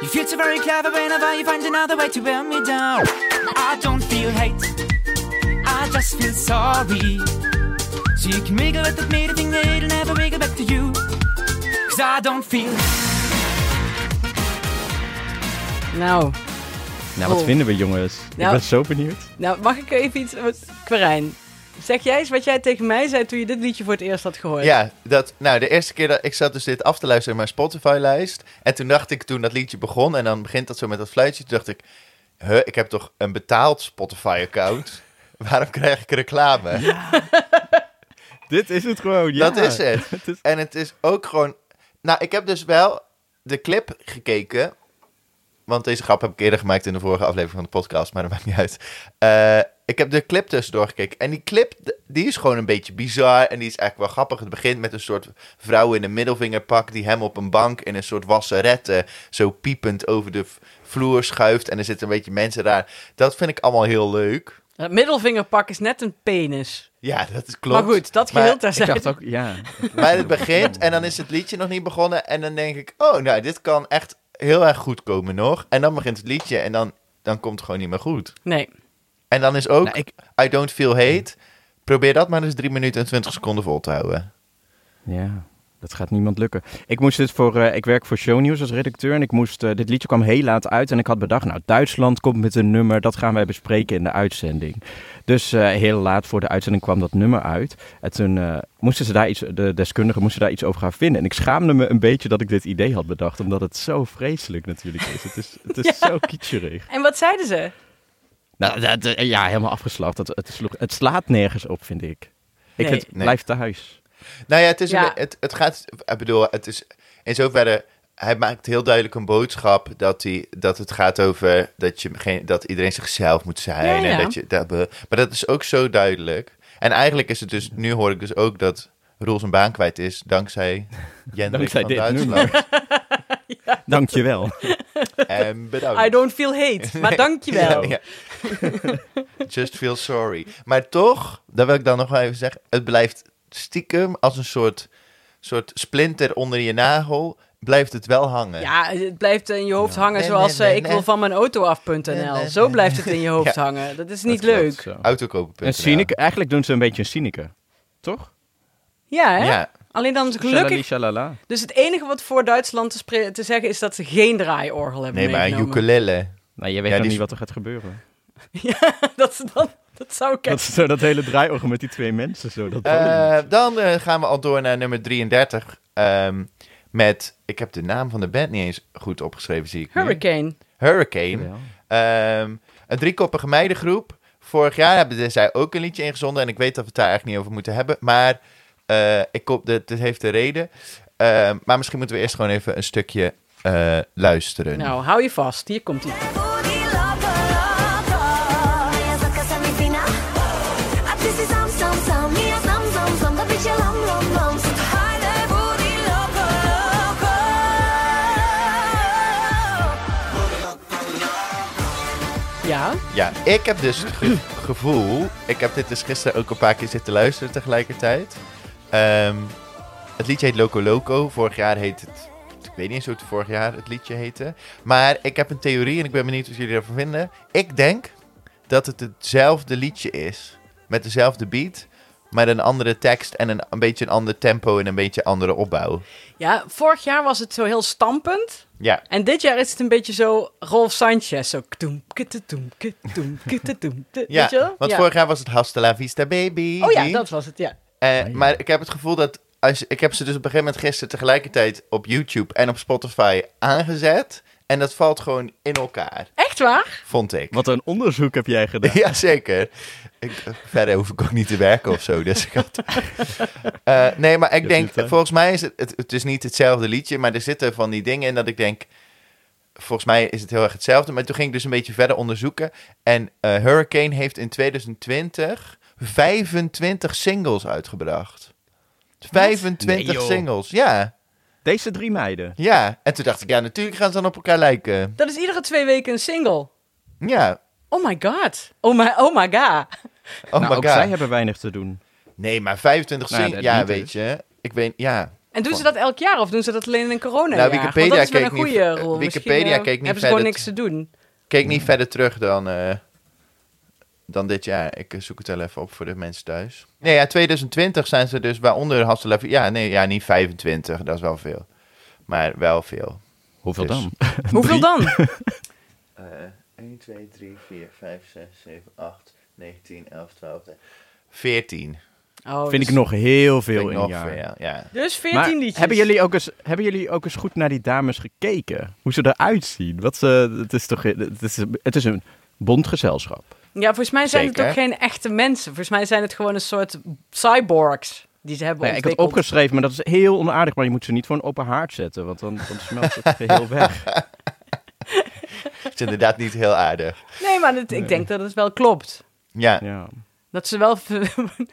S6: You feel so very clever whenever you find another way to wear me down. I don't feel hate, I just feel sorry. So you can wiggle at me to think that it'll never wiggle back to you. Cause I don't feel
S1: Nou,
S2: Nou, wat
S1: Oh.
S2: vinden we, jongens? Ik
S1: Nou-
S2: ben zo benieuwd.
S1: nou, mag ik even iets... wat- Quirijn, zeg jij eens wat jij tegen mij zei toen je dit liedje voor het eerst had gehoord.
S3: Ja, dat, nou, de eerste keer dat ik zat dus dit af te luisteren in mijn Spotify-lijst. En toen dacht ik, toen dat liedje begon en dan begint dat zo met dat fluitje. Toen dacht ik, huh, ik heb toch een betaald Spotify-account? <laughs> Waarom krijg ik reclame?
S2: Dit is het gewoon. Ja.
S3: Dat is
S2: <laughs>
S3: het.
S2: is-
S3: En het is ook gewoon... Nou, ik heb dus wel de clip gekeken. Want deze grap heb ik eerder gemaakt in de vorige aflevering van de podcast, maar dat maakt niet uit. Eh, ik heb de clip tussendoor gekeken. En die clip, d- die is gewoon een beetje bizar. En die is eigenlijk wel grappig. Het begint met een soort vrouw in een middelvingerpak die hem op een bank in een soort wasserette zo piepend over de v- vloer schuift. En er zitten een beetje mensen daar. Dat vind ik allemaal heel leuk.
S1: Het middelvingerpak is net een penis.
S3: Ja, dat is klopt.
S1: Maar goed, dat
S3: Maar-
S1: geheel
S2: Ik
S1: terzijde.
S2: dacht ook, ja.
S3: Maar het begint en dan is het liedje nog niet begonnen. En dan denk ik, oh, nou, dit kan echt heel erg goed komen nog. En dan begint het liedje en dan, dan komt het gewoon niet meer goed.
S1: Nee.
S3: En dan is ook,
S2: Nou, ik-
S3: I don't feel hate. Probeer dat maar eens 3 minuten en 20 seconden vol te houden.
S2: Ja, dat gaat niemand lukken. Ik moest dit voor, eh, ik werk voor Shownieuws als redacteur en ik moest, eh, dit liedje kwam heel laat uit en ik had bedacht, nou Duitsland komt met een nummer, dat gaan wij bespreken in de uitzending. Dus eh, heel laat voor de uitzending kwam dat nummer uit. En toen eh, moesten ze daar iets, de deskundigen moesten daar iets over gaan vinden. En ik schaamde me een beetje dat ik dit idee had bedacht, omdat het zo vreselijk natuurlijk is. Het is, het
S1: <laughs>
S2: is zo kitscherig.
S1: En wat zeiden ze?
S2: Nou, dat, eh, ja, helemaal afgeslacht. Het, het, sloeg- het slaat nergens op, vind ik. Ik
S1: Nee.
S2: vind,
S3: Nee.
S2: blijf thuis.
S3: Nou ja, het, is
S1: Ja.
S3: een- het, het gaat, ik bedoel, het is in zoverre, hij maakt heel duidelijk een boodschap dat, hij, dat het gaat over dat, je geen, dat iedereen zichzelf moet zijn.
S1: Ja, ja.
S3: En dat je, dat, maar dat is ook zo duidelijk. En eigenlijk is het dus, nu hoor ik dus ook dat Roel zijn baan kwijt is
S2: <laughs>
S3: dankzij Jendrik
S2: Dankzij
S3: van
S2: dit
S3: Duitsland.
S1: <laughs>
S2: Dankjewel.
S3: En bedankt.
S1: I don't feel hate, maar dankjewel.
S3: Oh. Ja, ja. <laughs> Just feel sorry. Maar toch, dat wil ik dan nog wel even zeggen. Het blijft stiekem als een soort, soort splinter onder je nagel. Blijft het wel hangen.
S1: Ja, het blijft in je hoofd hangen
S3: Nee,
S1: zoals eh,
S3: nee, nee,
S1: ik
S3: nee.
S1: wil van mijn auto
S3: Nee,
S1: af.nl.
S3: nee,
S1: Zo blijft het in je hoofd
S3: <laughs> Ja.
S1: hangen. Dat is niet
S2: Dat klopt,
S1: leuk.
S2: zo.
S3: Autokopen.nl.
S2: Een cynic, eigenlijk doen ze een beetje een cynicus, toch?
S1: Ja, hè?
S3: Ja.
S1: Alleen dan is het
S2: Shalali
S1: gelukkig.
S2: shalala.
S1: Dus het enige wat voor Duitsland te, spre- te zeggen is dat ze geen draaiorgel hebben
S3: Nee, maar een
S1: meegenomen.
S3: ukulele.
S2: Nou, je weet
S3: Ja,
S2: nog
S3: die-
S2: niet wat er gaat gebeuren.
S1: <laughs> dat, ze dan, dat zou ik
S2: <laughs> Dat is zo dat hele draaiorgel met die twee mensen. Zo, dat
S1: Oh,
S3: Eh, dan eh, gaan we al door naar nummer 33. ehm, met, ik heb de naam van de band niet eens goed opgeschreven, zie ik nu.
S1: Hurricane.
S3: Hurricane. Ehm, een driekoppige meidengroep. Vorig jaar hebben zij ook een liedje ingezonden. En ik weet dat we het daar eigenlijk niet over moeten hebben. Maar eh, ik kom, dit, dit heeft een reden. Eh, Eh, maar misschien moeten we eerst gewoon even een stukje eh, luisteren.
S1: Nou, hou je vast. Hier komt hij.
S7: Booty lover, lover. Moja zakasa mi fina. A ty si sam, sam, sam. Ja sam, sam, sam. Do bicia lam, lam, lam. Są to fajne booty lover, lover.
S1: Ja,
S3: Ja, ik heb dus het ge- <clears throat> gevoel... Ik heb dit dus gisteren ook een paar keer zitten luisteren tegelijkertijd. Ehm, het liedje heet Loco Loco. Vorig jaar heet het... Ik weet niet eens hoe het vorig jaar het liedje heette. Maar ik heb een theorie en ik ben benieuwd wat jullie ervan vinden. Ik denk dat het hetzelfde liedje is. Met dezelfde beat. Met een andere tekst en een, een beetje een ander tempo en een beetje andere opbouw.
S1: ja, vorig jaar was het zo heel stampend.
S3: Ja,
S1: En dit jaar is het een beetje zo Rolf Sanchez. Zo ktoem, kittetoem, <laughs> kitoem, kittetoem. Weet
S3: ja
S1: je wel?
S3: want
S1: Ja.
S3: vorig jaar was het Hasta la Vista Baby.
S1: Oh ja, dat was het, ja.
S3: Eh, Maar ik heb het gevoel dat. Als, je- ik heb ze dus op een gegeven moment gisteren tegelijkertijd op YouTube en op Spotify aangezet. En dat valt gewoon in elkaar,
S1: Echt waar?
S3: vond ik.
S2: Wat een onderzoek heb jij
S3: <laughs>
S2: gedaan.
S3: Jazeker. Ik, eh, verder hoef ik ook niet te werken of zo. Dus ik
S2: <laughs>
S3: had... Eh, nee, maar ik
S2: Dat
S3: denk,
S2: is het, hè?
S3: volgens mij is het, het, het is niet hetzelfde liedje, maar er zitten van die dingen in dat ik denk, volgens mij is het heel erg hetzelfde. Maar toen ging ik dus een beetje verder onderzoeken. En eh, Hurricane heeft in 2020 25 singles uitgebracht. 25
S2: Nee, joh.
S3: singles, ja.
S2: Deze drie meiden.
S3: Ja, en toen dacht ik, ja, natuurlijk gaan ze dan op elkaar lijken.
S1: Dat is iedere twee weken een single.
S3: Ja,
S1: Oh my god. Oh my, oh my god.
S3: oh
S2: nou,
S3: my
S2: ook
S3: god.
S2: zij hebben weinig te doen.
S3: Nee, maar 25
S2: Nou,
S3: singles,
S2: dat
S3: ja,
S2: niet
S3: weet
S2: dus.
S3: je. Ik weet, ja.
S1: En doen ze dat elk jaar of doen ze dat alleen in een corona
S3: Nou,
S1: Want
S3: Wikipedia
S1: dat is wel een
S3: keek niet-
S1: goede
S3: eh,
S1: rol. Misschien,
S3: Wikipedia
S1: eh,
S3: keek niet
S1: Hebben ze gewoon
S3: verder
S1: niks te
S3: <laughs>
S1: doen.
S3: Kijk niet verder terug dan, eh, dan dit jaar. Ik eh, zoek het wel even op voor de mensen thuis. Nee, ja, 2020 zijn ze dus waaronder Hasselaar. Ja, nee, ja, niet 25, dat is wel veel. Maar wel veel.
S2: Hoeveel
S3: Dus-
S2: dan?
S1: Hoeveel
S3: <laughs>
S1: dan? Oh,
S3: 1, 2, 3, 4, 5, 6, 7, 8, 9, 10, 11, 12, 14.
S1: Oh,
S2: <laughs> Vind
S1: dus-
S2: ik nog heel veel
S3: Vind ik
S2: in een
S3: nog
S2: jaar.
S3: veel, ja.
S1: Dus 14
S2: Maar
S1: liedjes.
S2: hebben jullie, ook eens, hebben jullie ook eens goed naar die dames gekeken? Hoe ze eruit zien? Wat ze, het, is toch, het, is, het is een bond gezelschap.
S1: Ja, volgens mij zijn
S3: Zeker.
S1: het ook geen echte mensen. Volgens mij zijn het gewoon een soort cyborgs die ze hebben
S2: Nou ja, ik had
S1: ontwikkeld.
S2: opgeschreven, maar dat is heel onaardig. Maar je moet ze niet voor een open haard zetten, want dan, dan smelt het
S3: <laughs>
S2: geheel weg.
S3: Het is inderdaad niet heel aardig.
S1: Nee, maar het- ik denk dat het wel klopt.
S3: Ja,
S2: Ja.
S1: Dat ze wel... <laughs> dat
S2: Maar
S1: ze moeten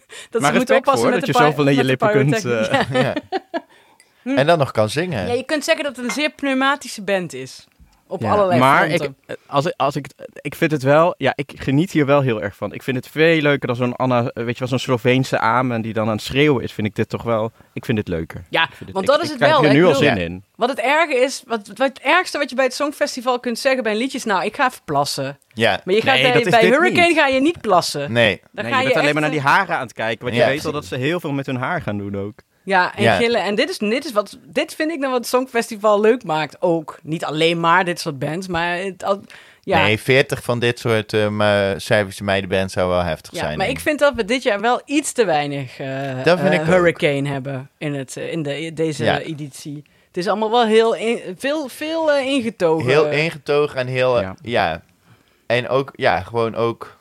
S2: respect
S1: oppassen
S2: voor
S1: met
S2: dat
S1: de
S2: je
S1: py-
S2: zoveel in je
S1: met de
S2: lippen kunt...
S1: pyrotechnie. <laughs>
S2: eh,
S3: <laughs> en dan nog kan zingen.
S1: Ja, je kunt zeggen dat het een zeer pneumatische band is. Op
S2: Ja,
S1: allerlei
S2: maar
S1: fronten.
S2: Ik, eh, als, ik- als ik, ik vind het wel, ja, ik geniet hier wel heel erg van. Ik vind het veel leuker dan zo'n Anna, eh, weet je wel, zo'n Sloveense amen die dan aan het schreeuwen is. Vind ik dit toch wel, ik vind dit leuker.
S1: Ja,
S2: Ik vind dit-
S1: want
S2: ik-
S1: dat is
S2: ik
S1: het
S2: krijg
S1: wel.
S2: hier
S1: hè.
S2: nu
S1: Ik
S2: al
S1: bedoel,
S2: zin in.
S1: Wat het erge is, wat, wat het ergste wat je bij het Songfestival kunt zeggen bij een liedje is... Nou, ik ga verplassen.
S3: Ja,
S1: Maar je gaat
S2: Nee,
S1: bij,
S2: dat is
S1: bij
S2: dit
S1: Hurricane
S2: niet.
S1: ga je niet plassen.
S3: nee.
S1: Dan
S2: nee,
S1: ga
S2: je bent alleen
S1: echt
S2: maar naar
S1: een-
S2: die haren aan het kijken, want
S3: Ja,
S2: je weet al
S3: precies.
S2: dat ze heel veel met hun haar gaan doen ook.
S1: Ja, en
S3: Ja.
S1: gillen. En dit, is, dit, is wat, dit vind ik dan wat het Songfestival leuk maakt. Ook niet alleen maar dit soort bands, maar... Het, al- ja,
S3: Nee, 40 van dit soort um, eh, Servische meidenbands zou wel heftig
S1: ja
S3: zijn.
S1: maar
S3: denk
S1: ik vind dat we dit jaar wel iets te weinig eh,
S3: Dat vind
S1: eh,
S3: ik ook.
S1: Hurricane hebben in, het, eh, in, de, in deze
S3: Ja.
S1: editie. Het is allemaal wel heel in- veel, veel eh, ingetogen.
S3: Heel ingetogen en heel... eh,
S2: Ja.
S3: Ja. En ook, ja, gewoon ook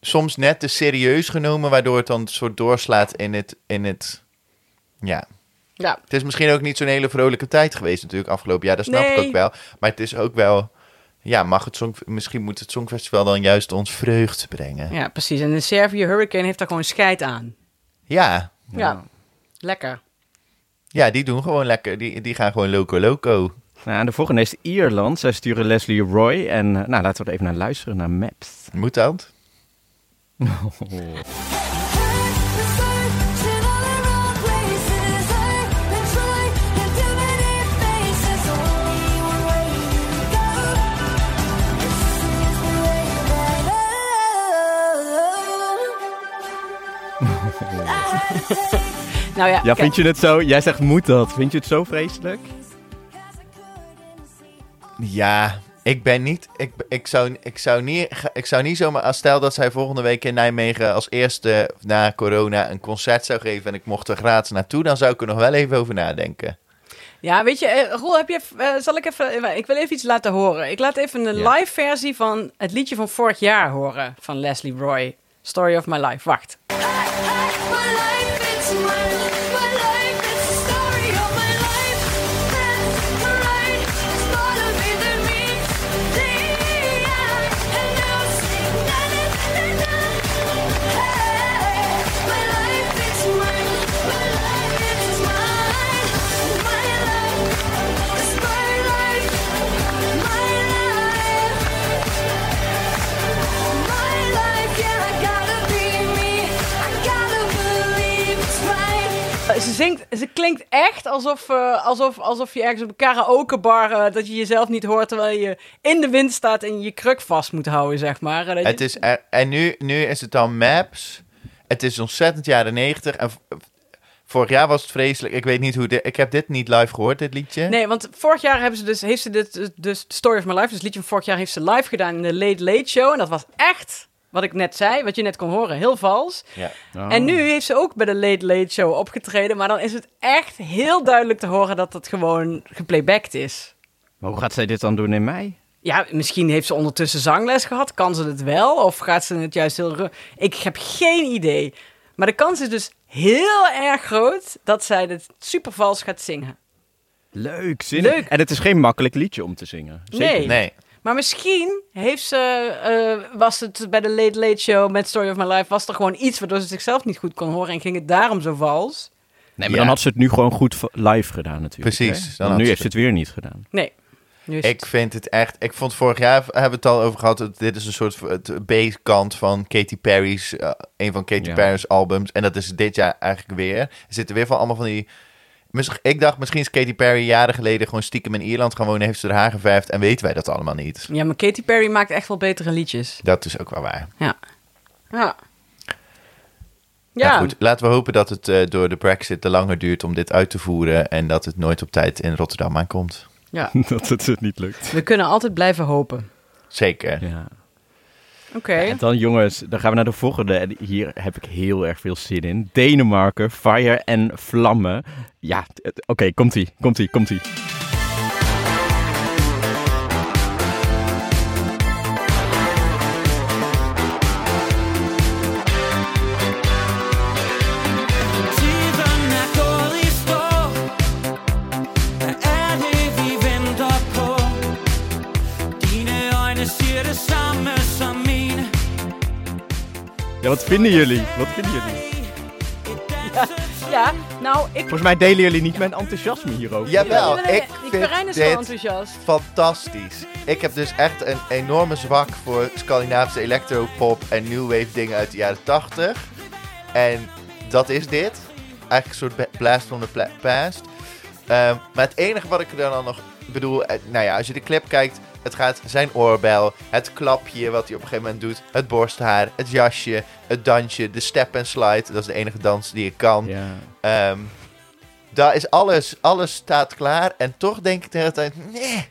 S3: soms net te serieus genomen, waardoor het dan een soort doorslaat in het, in het... Ja,
S1: Ja.
S3: het is misschien ook niet zo'n hele vrolijke tijd geweest natuurlijk afgelopen jaar. Dat snap ik
S1: Nee.
S3: ook wel. Maar het is ook wel... Ja, mag het song, misschien moet het Songfestival dan juist ons vreugd brengen.
S1: ja, precies. En in Servië Hurricane heeft daar gewoon scheid aan.
S3: Ja,
S1: Ja, lekker.
S3: ja die doen gewoon lekker. Die, die gaan gewoon loco loco.
S2: Nou, en de volgende is Ierland. Zij sturen Leslie Roy en eh, nou, laten we er even naar luisteren, naar Maps.
S3: Moet dat?
S1: Nou ja,
S2: Ja,
S1: kijk,
S2: vind je het zo? Jij zegt moet dat. Vind je het zo vreselijk?
S3: Ja, ik ben niet. Ik, ik, zou, ik, zou niet, ik zou niet zomaar. als Stel dat zij volgende week in Nijmegen als eerste na corona een concert zou geven. en ik mocht er gratis naartoe. dan zou ik er nog wel even over nadenken.
S1: ja, weet je, eh, Roel, heb je, eh, zal ik even, ik wil even iets laten horen. Ik laat even een
S2: Ja.
S1: live versie van het liedje van vorig jaar horen van Leslie Roy. Story of My Life. Wacht.
S7: My life, it's my, my life, it's the story of my life.
S1: zingt, Eh, ze klinkt echt alsof, eh, alsof, alsof je ergens op een karaokebar... eh, dat je jezelf niet hoort terwijl je in de wind staat... en je je kruk vast moet houden, zeg maar. Eh, dat je-
S3: Het is er- en nu, nu is het dan Maps. Het is ontzettend jaren 90. En v- vorig jaar was het vreselijk. Ik weet niet hoe. Dit, ik heb dit niet live gehoord, dit liedje.
S1: Nee, want vorig jaar hebben ze dus, heeft ze dit, dus Story of My Life, dus het liedje van vorig jaar, heeft ze live gedaan in de Late Late Show. En dat was echt, wat ik net zei, wat je net kon horen, heel vals.
S3: Ja.
S2: Ah.
S1: En nu heeft ze ook bij de Late Late Show opgetreden, maar dan is het echt heel duidelijk te horen dat dat gewoon geplaybacked is.
S2: Maar hoe gaat zij dit dan doen in mei?
S1: Ja, misschien heeft ze ondertussen zangles gehad. Kan ze het wel? Of gaat ze het juist heel... ru- Ik heb geen idee. Maar de kans is dus heel erg groot dat zij dit super vals gaat zingen.
S2: Leuk, zinnig.
S1: Leuk.
S2: En het is geen makkelijk liedje om te zingen. Zeker.
S1: Nee.
S2: niet.
S3: Nee.
S1: Maar misschien heeft ze, eh, was het bij de Late Late Show met Story of My Life... was er gewoon iets waardoor ze zichzelf niet goed kon horen... en ging het daarom zo vals.
S2: Nee, maar
S3: Ja.
S2: dan had ze het nu gewoon goed v- live gedaan natuurlijk.
S3: Precies,
S2: hè?
S3: dan
S2: Want
S3: had
S2: nu
S3: ze
S2: heeft ze
S3: het.
S2: het weer niet
S3: <laughs>
S2: gedaan.
S1: Nee. Nu is
S3: Ik
S1: het-
S3: vind het echt. Ik vond vorig jaar hebben we het al over gehad. het- Dit is een soort v- het B-kant van Katy Perry's. eh, een van Katy
S2: Ja.
S3: Perry's albums. En dat is dit jaar eigenlijk weer. Er zitten weer van allemaal van die. mis- Ik dacht misschien is Katy Perry jaren geleden gewoon stiekem in Ierland gaan wonen. Heeft ze haar haar geverfd en weten wij dat allemaal niet.
S1: Ja, maar Katy Perry maakt echt wel betere liedjes.
S3: Dat is ook wel waar.
S1: Ja. Ja.
S3: Ja.
S1: Ja,
S3: Nou goed, laten we hopen dat het eh, door de Brexit te langer duurt om dit uit te voeren. En dat het nooit op tijd in Rotterdam aankomt.
S1: ja.
S2: dat het het niet lukt.
S1: we kunnen altijd blijven hopen.
S3: Zeker.
S2: Ja.
S1: Oké.
S2: En dan jongens, dan gaan we naar de volgende. En hier heb ik heel erg veel zin in. Denemarken, fire en vlammen. Ja, t- t- oké, komt-ie, komt-ie, komt-ie.
S6: Tiderna går i stå Hvad er det, vi venter på? Dine øjne siger det samme som mine
S2: Ja, wat vinden jullie? Wat vinden jullie?
S1: Ja, nou, ik...
S2: Volgens mij delen jullie niet mijn enthousiasme hierover.
S3: Jawel,
S1: Nee, nee, nee,
S3: ik
S1: nee,
S3: vind
S1: Karijn is zo
S3: dit
S1: enthousiast.
S3: fantastisch. Ik heb dus echt een enorme zwak voor Scandinavische electropop en new wave dingen uit de jaren 80. En dat is dit. Eigenlijk een soort ba- blast from the pla- past. Ehm, maar het enige wat ik er dan nog bedoel, eh, nou ja, als je de clip kijkt, het gaat zijn oorbel, het klapje wat hij op een gegeven moment doet, het borsthaar, het jasje, het dansje, de step and slide. Dat is de enige dans die ik kan.
S2: Ja.
S3: Ehm, daar is alles, alles staat klaar. En toch denk ik de hele tijd, nee.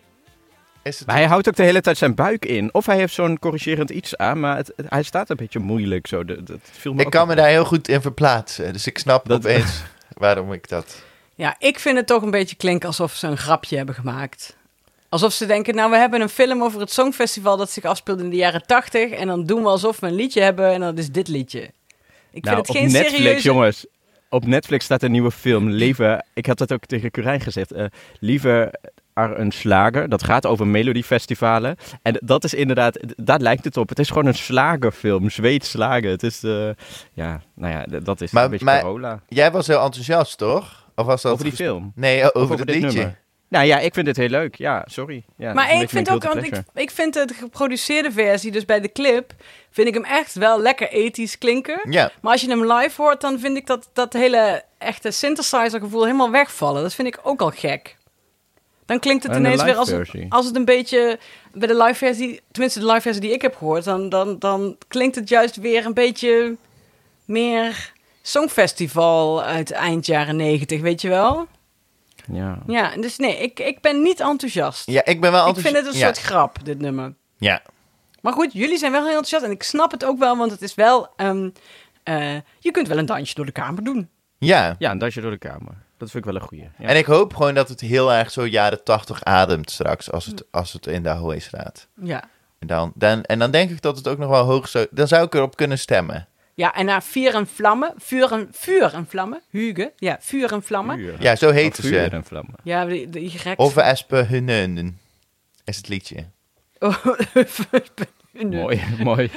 S3: Is het
S2: Maar hij houdt ook de hele tijd zijn buik in. Of hij heeft zo'n corrigerend iets aan, maar het, het- hij staat een beetje moeilijk zo. Dat, dat viel me
S3: ik
S2: ook
S3: kan
S2: op.
S3: me daar heel goed in verplaatsen. Dus ik snap
S2: Dat- <laughs>
S3: opeens waarom ik dat...
S1: Ja, ik vind het toch een beetje klinken alsof ze een grapje hebben gemaakt. Alsof ze denken, nou, we hebben een film over het Songfestival dat zich afspeelde in de jaren tachtig. En dan doen we alsof we een liedje hebben en dat is dit liedje. Ik
S2: Nou,
S1: vind het geen
S2: op Netflix,
S1: serieuze...
S2: jongens. Op Netflix staat een nieuwe film, Leven... Ik had dat ook tegen Curijn gezegd. eh Liever er een slager. Dat gaat over melodiefestivalen. En d- dat is inderdaad... d- Daar lijkt het op. Het is gewoon een slagerfilm. Zweeds slagen. Het is... eh, ja, nou ja, d- dat is
S3: Maar-
S2: een beetje
S3: maar-
S2: Carola.
S3: Jij was heel enthousiast, toch? Of was dat
S2: Over die
S3: ges-
S2: film?
S3: Nee, o- over,
S2: Of
S3: het
S2: dit
S3: liedje.
S2: nummer. Nou ja, ik vind dit heel leuk. Ja, sorry. Ja, dat is
S1: Maar
S2: een
S1: ik
S2: beetje
S1: vind
S2: mijn
S1: ook,
S2: guilty
S1: want ik,
S2: pleasure.
S1: ik vind het geproduceerde versie, dus bij de clip, vind ik hem echt wel lekker ethisch klinken.
S3: Ja,
S1: Maar als je hem live hoort, dan vind ik dat, dat hele echte synthesizer gevoel helemaal wegvallen. Dat vind ik ook al gek. Dan klinkt het
S2: En de
S1: ineens weer
S2: live
S1: als,
S2: versie?
S1: als het een beetje bij de live versie, tenminste de live versie die ik heb gehoord, dan, dan, dan klinkt het juist weer een beetje meer songfestival uit eind jaren negentig, weet je wel?
S2: Ja.
S1: Ja, dus nee, ik, ik ben niet enthousiast.
S3: ja ik ben wel
S1: ik vind
S3: enthousiast.
S1: het een soort grap, dit nummer.
S3: Ja,
S1: Maar goed, jullie zijn wel heel enthousiast en ik snap het ook wel, want het is wel, ehm, eh, je kunt wel een dansje door de kamer doen.
S3: ja.
S2: ja, een dansje door de kamer. Dat vind ik wel een goeie. Ja.
S3: En ik hoop gewoon dat het heel erg zo jaren tachtig ademt straks. Als het, als het in de Ahoy staat.
S1: Ja.
S3: En dan, dan, en dan denk ik dat het ook nog wel hoog zou... Dan zou ik erop kunnen stemmen.
S1: Ja, en na vier en vlammen, vuur en, vuur en vlammen, Huge, ja, vuur en vlammen.
S2: Vuur.
S3: Ja, zo heet
S2: Wat vuur
S3: ze.
S2: en vlammen.
S1: Ja, die, die geks. <laughs>
S3: Over Espen Hunnen is het liedje.
S1: Oh, nee.
S2: Mooi, <laughs> mooi.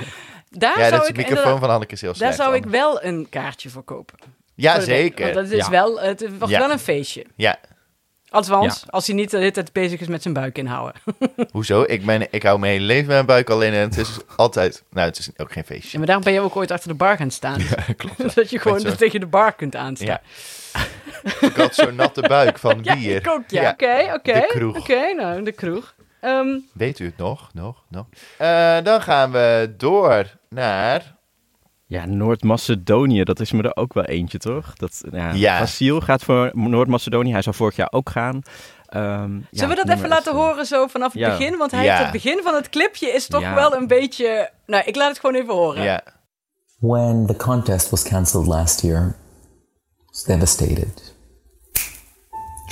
S1: Daar
S3: Ja,
S1: zou
S3: dat is
S1: ik
S3: de microfoon
S1: inderdaad-
S3: van Hanneke is heel slecht.
S1: Daar zou ik
S3: dan.
S1: wel een kaartje voor kopen.
S3: Ja,
S1: Voor de- Want
S3: zeker.
S1: dat is
S2: Ja.
S1: wel, het was
S3: Ja.
S1: wel een feestje.
S3: Ja.
S1: Althans, als hij niet de hele tijd bezig is met zijn buik
S3: <laughs>
S1: inhouden.
S3: Hoezo? Ik, ben, ik hou mijn hele leven met mijn buik alleen en het is altijd... Nou, het is ook geen
S1: Ja,
S3: feestje.
S1: maar daarom ben je ook ooit achter de bar gaan
S3: <laughs>
S1: staan. <laughs>
S3: Klopt.
S1: dat je gewoon
S3: Met zo-
S1: tegen de bar kunt aanstaan.
S3: Ja. ik had zo'n natte buik van
S1: <laughs> Ja,
S3: bier.
S1: ik ook, ja. Oké, oké.
S3: de kroeg.
S1: Oké, nou, de kroeg. Ehm,
S3: Weet u het nog? Nog? Nog? Eh, dan gaan we door naar...
S2: Ja, Noord-Macedonië, dat is me er ook wel eentje, toch? Dat, ja,
S3: Ja.
S2: Vasil gaat voor Noord-Macedonië. Hij zou vorig jaar ook gaan. Ehm, ja,
S1: zullen we dat
S2: nummer
S1: even
S2: is,
S1: laten
S2: eh,
S1: horen zo vanaf het
S2: Ja.
S1: begin? Want hij
S3: Ja.
S1: heeft het begin van het clipje is toch
S2: Ja.
S1: wel een beetje... Nou, ik laat het gewoon even horen.
S3: Ja.
S8: When the contest was cancelled last year, I was devastated.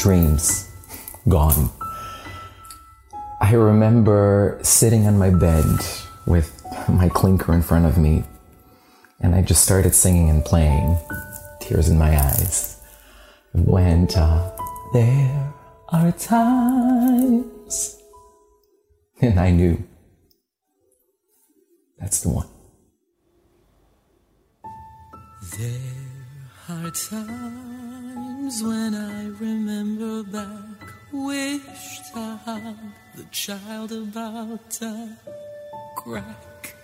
S8: Dreams gone. I remember sitting on my bed with my clinker in front of me, and I just started singing and playing, tears in my eyes. It Went, uh, there are times. And I knew that's the one.
S5: There are times when I remember back, wished I had the child about to crack.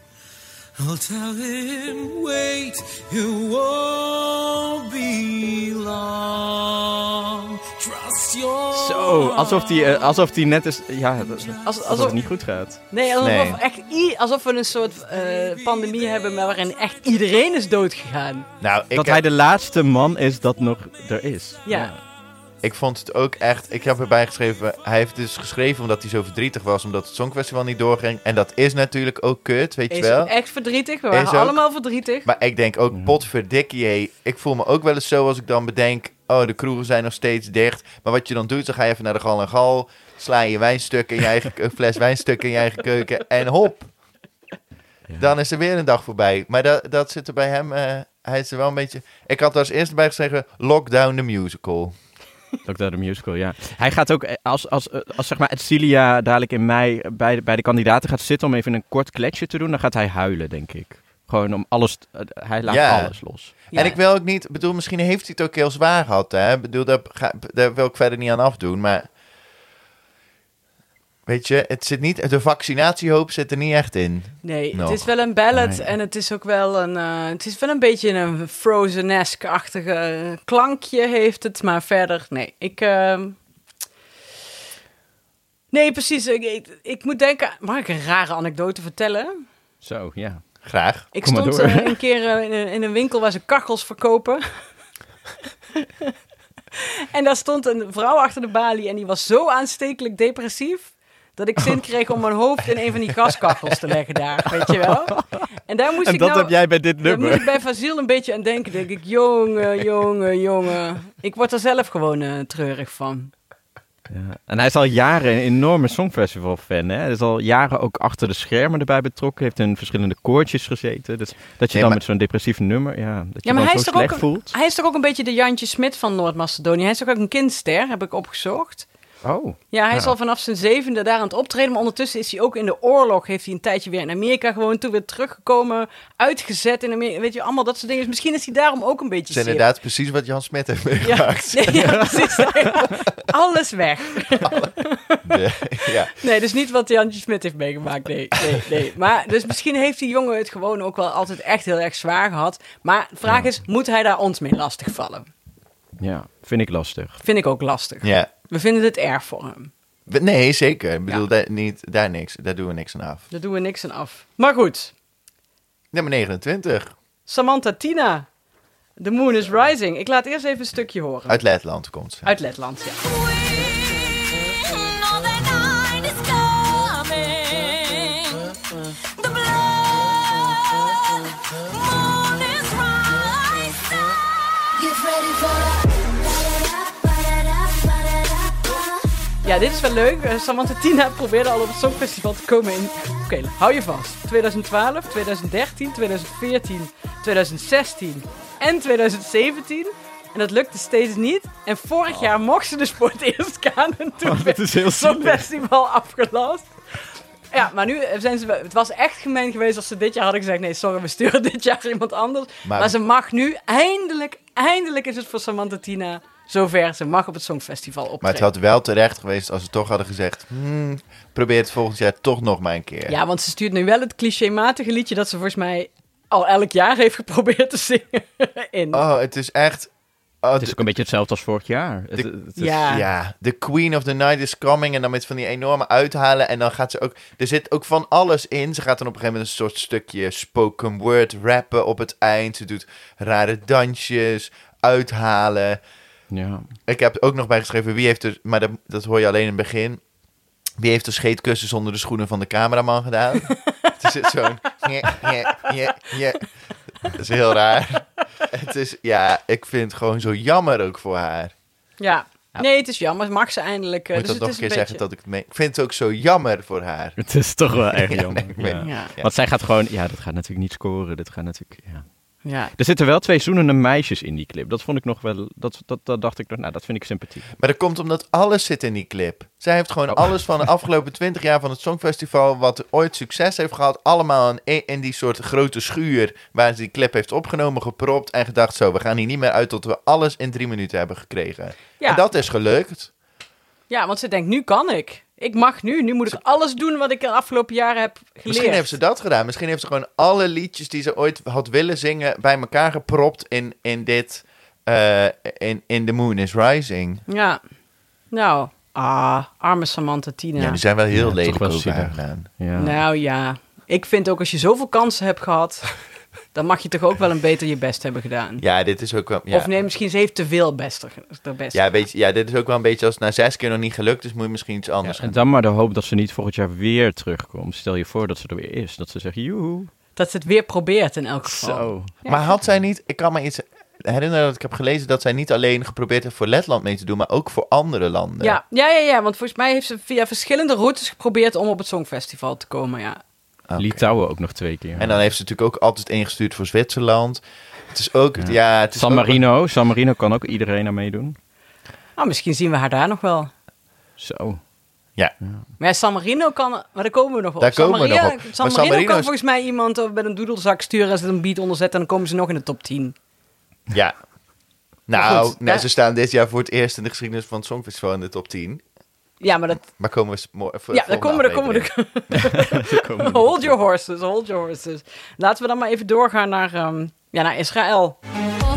S5: I'll tell him, wait, it won't be long. Trust your
S2: Zo, alsof die, eh, alsof die net is... Ja, dat-
S1: Als,
S2: alsof
S1: alsof,
S2: het niet goed gaat.
S1: nee, alsof,
S3: Nee.
S1: we Echt i- alsof we een soort eh, pandemie hebben maar waarin echt iedereen is doodgegaan.
S3: Nou, ik,
S2: dat hij de laatste man is dat nog er is.
S1: Ja.
S3: ik vond het ook echt... Ik heb erbij geschreven... Hij heeft dus geschreven omdat hij zo verdrietig was... omdat het Songfestival niet doorging. En dat is natuurlijk ook kut, weet je
S1: Is
S3: wel?
S1: echt verdrietig. We
S3: Is
S1: waren
S3: ook.
S1: allemaal verdrietig.
S3: Maar ik denk ook, potverdikkie, hé. Ik voel me ook wel eens zo als ik dan bedenk... oh, de kroegen zijn nog steeds dicht. Maar wat je dan doet, dan ga je even naar de gal en gal... sla je wijnstuk in je eigen, een <laughs> fles wijnstuk in je eigen keuken... en hop, dan is er weer een dag voorbij. Maar dat, dat zit er bij hem... eh, hij is er wel een beetje... Ik had er als eerste bij gezegd... Lockdown the Musical.
S2: Doctor de Musical, ja. Hij gaat ook, eh, als, als, eh, als zeg maar Celia dadelijk in mei bij de, bij de kandidaten gaat zitten om even een kort kletsje te doen, dan gaat hij huilen, denk ik. Gewoon om alles, eh, hij laat
S3: Ja.
S2: alles los.
S1: Ja.
S3: En ik wil ook niet... bedoel, misschien heeft hij het ook heel zwaar gehad, hè? Ik bedoel, daar, ga- daar wil ik verder niet aan afdoen, maar... Weet je, het zit niet... De vaccinatiehoop zit er niet echt in.
S1: Nee,
S3: Nog.
S1: het is wel een ballad
S3: Nee.
S1: en het is ook wel een... eh, het is wel een beetje een Frozen-esque-achtige eh, klankje heeft het, maar verder, nee. Ik... ehm, Nee, precies. Ik, ik, ik moet denken... Mag ik een rare anekdote vertellen?
S2: Zo, ja.
S3: Graag.
S1: Ik
S2: Kom maar
S1: stond
S2: door.
S1: eh, een keer eh, in, een, in een winkel waar ze kachels verkopen. <laughs> en daar stond een vrouw achter de balie en die was zo aanstekelijk depressief... dat ik
S2: Oh.
S1: zin kreeg om mijn hoofd in een van die gaskachels te leggen
S2: <laughs>
S1: daar, weet je wel? En daar moest
S2: En
S1: ik
S2: dat
S1: nou...
S2: heb jij bij dit
S1: Daar moet
S2: nummer.
S1: ik bij Fasiel een beetje aan denken. Denk ik, jongen, jongen, jongen. Ik word er zelf gewoon eh, treurig van.
S2: Ja. En hij is al jaren een enorme Songfestival-fan. Hè? Hij is al jaren ook achter de schermen erbij betrokken. Heeft in verschillende koortjes gezeten. Dus dat je
S3: Nee,
S2: dan
S3: maar-
S2: met zo'n depressief nummer... Ja, dat je
S1: Ja, maar hij
S2: dan zo
S1: is, toch ook
S2: slecht
S1: een,
S2: voelt.
S1: hij is toch ook een beetje de Jantje Smit van Noord-Macedonië. Hij is toch ook een kindster, heb ik opgezocht.
S2: Oh.
S1: Ja, hij is al vanaf zijn zevende daar aan het optreden. Maar ondertussen is hij ook in de oorlog. Heeft hij een tijdje weer in Amerika gewoond. Toen weer teruggekomen. Uitgezet in Amerika. Weet je, allemaal dat soort dingen. Dus misschien is hij daarom ook een beetje
S3: Het is
S1: zeer.
S3: inderdaad precies wat Jan Smet heeft
S1: Ja, <laughs>
S3: meegemaakt.
S1: nee,
S3: <laughs>
S1: ja, precies. Alles weg.
S3: De- ja.
S1: Nee, dus niet wat Jantje Smit heeft meegemaakt. Nee, nee, nee. Maar dus misschien heeft die jongen het gewoon ook wel altijd echt heel erg zwaar gehad. Maar de vraag is, moet hij daar ons mee lastigvallen?
S2: Ja, vind ik lastig.
S1: Vind ik ook lastig.
S3: ja.
S1: We vinden het erg voor hem.
S3: We- Nee, zeker. Ik bedoel, daar, niet, daar, niks, daar doen we niks aan af.
S1: Daar doen we niks aan af. Maar goed,
S3: Nummer 29.
S1: Samantha Tina. The Moon is Rising. Ik laat eerst even een stukje horen.
S3: Uit Letland komt ze.
S1: Uit Letland, ja.
S7: Get ready for the...
S1: Ja, dit is wel leuk. Eh, Samantha Tina probeerde al op het Songfestival te komen in... Oké, hou je vast. 2012, 2013, 2014, 2016 en 2017. En dat lukte steeds niet. En vorig jaar mocht ze dus voor het eerst gaan. En toen werd
S2: is heel
S1: het Songfestival afgelast. Ja, maar nu eh, zijn ze... wel- Het was echt gemeen geweest als ze dit jaar hadden gezegd... Nee, sorry, we sturen dit jaar iemand anders. Maar,
S3: Maar-
S1: ze mag nu eindelijk... Eindelijk is het voor Samantha Tina zover ze mag op het Songfestival optreden.
S3: Maar het had wel terecht geweest als ze toch hadden gezegd... "Hmm, probeer het volgend jaar toch nog maar een keer.
S1: Ja, want ze stuurt nu wel het clichématige liedje dat ze volgens mij al elk jaar heeft geprobeerd te zingen <laughs> in.
S3: Oh, het is echt... oh,
S2: Het is ook een beetje hetzelfde als vorig jaar. Het-
S3: De-
S2: het is-
S1: ja.
S3: Dus Ja, de Queen of the Night is coming. En dan met van die enorme uithalen. En dan gaat ze ook... Er zit ook van alles in. Ze gaat dan op een gegeven moment een soort stukje spoken word rappen op het eind. Ze doet rare dansjes, uithalen.
S2: ja.
S3: Ik heb ook nog bijgeschreven wie heeft er... Maar dat, dat hoor je alleen in het begin. Wie heeft de scheetkussens onder de schoenen van de cameraman gedaan? het is zo'n... <laughs> Ja, ja, ja, ja. Dat is heel raar. Het is... Ja, ik vind het gewoon zo jammer ook voor haar.
S1: Ja. Nee, het is jammer. Mag ze eindelijk. eh,
S3: Moet ik
S1: dus
S3: dat nog een
S1: het
S3: keer
S1: is beetje-
S3: zeggen dat ik het meen? Ik vind het ook zo jammer voor haar.
S2: Het is toch wel erg jammer.
S3: nee, ik weet
S2: <laughs> ja.
S3: het.
S1: Ja.
S2: Want zij gaat gewoon... Ja, dat gaat natuurlijk niet scoren. Dat gaat natuurlijk... Ja.
S1: Ja.
S2: Er zitten wel twee zoenende meisjes in die clip. Dat vond ik nog wel... Dat, dat, dat dacht ik nog... Nou, dat vind ik sympathiek.
S3: Maar dat komt omdat alles zit in die clip. Zij heeft gewoon alles van de afgelopen 20 jaar van het Songfestival... wat ooit succes heeft gehad, allemaal in, één- in die soort grote schuur... waar ze die clip heeft opgenomen, gepropt en gedacht... zo, we gaan hier niet meer uit tot we alles in drie minuten hebben gekregen.
S1: Ja.
S3: En dat is gelukt.
S1: ja, want ze denkt, nu kan ik. Ik mag nu. Nu moet ik alles doen wat ik de afgelopen jaren heb geleerd.
S3: Misschien heeft ze dat gedaan. Misschien heeft ze gewoon alle liedjes die ze ooit had willen zingen... bij elkaar gepropt in, in dit... eh, in, in The Moon is Rising.
S1: Ja. Nou. Ah, arme Samantha Tina.
S3: Ja, die zijn wel heel
S2: Ja,
S3: lelijk
S2: toch wel
S3: over haar
S2: zielig.
S3: gedaan.
S2: Ja.
S1: Nou ja. Ik vind ook als je zoveel kansen hebt
S3: <laughs>
S1: gehad, dan mag je toch ook wel een beter je best hebben gedaan.
S3: Ja, dit is ook wel... Ja.
S1: Of nee, misschien ze heeft te veel best. te best
S3: Ja, weet je, ja, dit is ook wel een beetje als het na zes keer nog niet gelukt is, moet je misschien iets anders
S2: En
S3: gaan
S2: dan maar de hoop dat ze niet volgend jaar weer terugkomt. Stel je voor dat ze er weer is. Dat ze zegt, joehoe. Oh.
S1: Dat ze het weer probeert in elk geval.
S2: Zo.
S3: doen. Maar had zij niet, ik kan me iets herinneren dat ik heb gelezen dat zij niet alleen geprobeerd heeft voor Letland mee te doen, maar ook voor andere landen.
S1: Ja, ja, ja, ja, want volgens mij heeft ze via verschillende routes geprobeerd om op het Songfestival te komen, ja.
S3: Oké.
S2: Litouwen ook nog twee keer.
S3: En dan heeft ze natuurlijk ook altijd ingestuurd voor Zwitserland. Het is ook, ja, het is
S2: San
S3: ook-
S2: Marino. San Marino kan ook iedereen aan meedoen.
S1: Nou, misschien zien we haar daar nog wel.
S2: Zo.
S3: ja,
S1: Maar ja, San Marino kan... Maar daar komen we nog op.
S3: Daar komen we
S1: San Marino,
S3: nog op. Maar
S1: San
S3: San
S1: Marino
S3: Marino
S1: kan
S3: is-
S1: volgens mij iemand eh, met een doedelzak sturen... als ze er een beat onder zetten en dan komen ze nog in de top 10.
S3: ja.
S1: Maar
S3: Nou,
S1: goed,
S3: nee,
S1: daar-
S3: ze staan dit jaar voor het eerst in de geschiedenis van het Songfestival in de top 10.
S1: Ja, maar dat...
S3: Maar komen we... s- mo- voor de
S1: Ja, daar komen we...
S3: volgende
S1: Daar komen
S3: aflevering.
S1: we <laughs> hold your horses, hold your horses. Laten we dan maar even doorgaan naar, ehm, ja, naar Israël.
S7: Oh,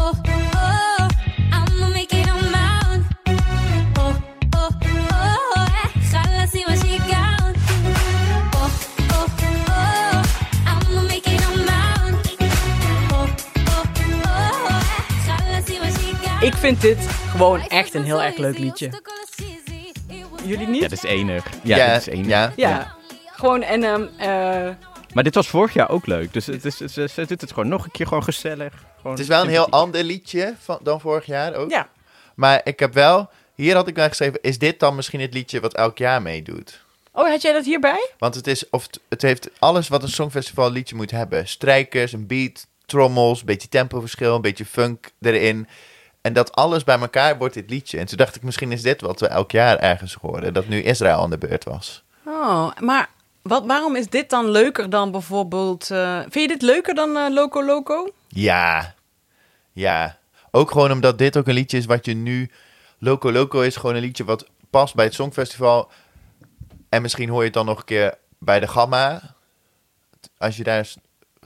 S7: oh, oh, I'ma make it on my own. Oh, oh, oh, خلاص ما she gone. Oh, oh, oh, I'ma make it on my own. Oh, oh, oh, خلاص ما she gone.
S1: Ik vind dit gewoon echt een heel erg leuk liedje. Jullie niet?
S2: Ja, dat is enig. Ja, dat is enig.
S3: ja,
S1: Ja. Gewoon en... ehm, eh,
S2: Maar dit was vorig jaar ook leuk. Dus het is, het is, ze doet het gewoon nog een keer gewoon gezellig. Gewoon
S3: Het is wel een heel
S2: sympathiek.
S3: ander liedje van, dan vorig jaar ook.
S1: ja,
S3: Maar ik heb wel, hier had ik wel geschreven, is dit dan misschien het liedje wat elk jaar meedoet?
S1: Oh, had jij dat hierbij?
S3: Want het, is, of het, het heeft alles wat een songfestival liedje moet hebben. Strijkers, een beat, trommels, een beetje tempoverschil, een beetje funk erin. En dat alles bij elkaar wordt dit liedje. En toen dacht ik, misschien is dit wat we elk jaar ergens horen. Dat nu Israël aan de beurt was.
S1: Oh, maar wat, waarom is dit dan leuker dan bijvoorbeeld... eh, vind je dit leuker dan eh, Loco Loco?
S3: Ja. Ja. Ook gewoon omdat dit ook een liedje is wat je nu... Loco Loco is gewoon een liedje wat past bij het Songfestival. En misschien hoor je het dan nog een keer bij de Gamma. Als je daar eens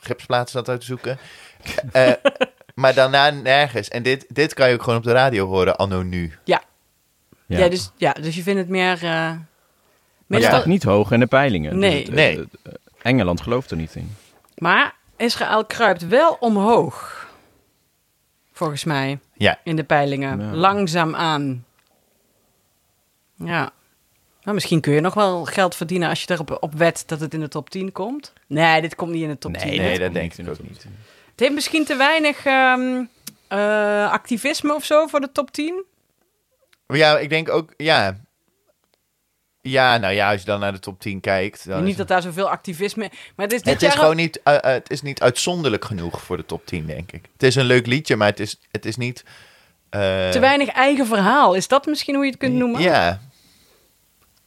S3: gipsplaatsen staat uit te
S1: <laughs>
S3: zoeken. Eh, maar daarna nergens. En dit, dit kan je ook gewoon op de radio horen, anno nu.
S1: Ja. Ja.
S2: Ja.
S1: dus, ja, dus je vindt het meer... eh,
S2: Maar
S1: meer dan-
S2: het staat niet hoog in de peilingen. Dus
S1: Nee.
S2: het-
S3: Nee.
S2: het- het- Engeland gelooft er niet in.
S1: maar Israël kruipt wel omhoog. Volgens mij,
S3: Ja.
S1: in de peilingen.
S2: Ja.
S1: Langzaam aan. Ja. Nou, misschien kun je nog wel geld verdienen als je erop op wet dat het in de top 10 komt. Nee, dit komt niet in de top 10.
S3: nee,
S2: komt
S3: dat denk
S2: niet,
S3: ik
S2: dat
S3: ook
S2: komt
S3: niet.
S1: Het heeft misschien te weinig ehm, eh, activisme of zo voor de top 10.
S3: Maar ja, ik denk ook... Ja. Ja, nou ja, als je dan naar de top 10 kijkt... Dan is
S1: niet dat daar zoveel activisme... Maar het is dit
S3: Het
S1: jaar
S3: is
S1: ook-
S3: gewoon niet, eh, eh, het is niet uitzonderlijk genoeg voor de top 10, denk ik. Het is een leuk liedje, maar het is, het is niet... eh,
S1: te weinig eigen verhaal. Is dat misschien hoe je het kunt noemen?
S3: Ja.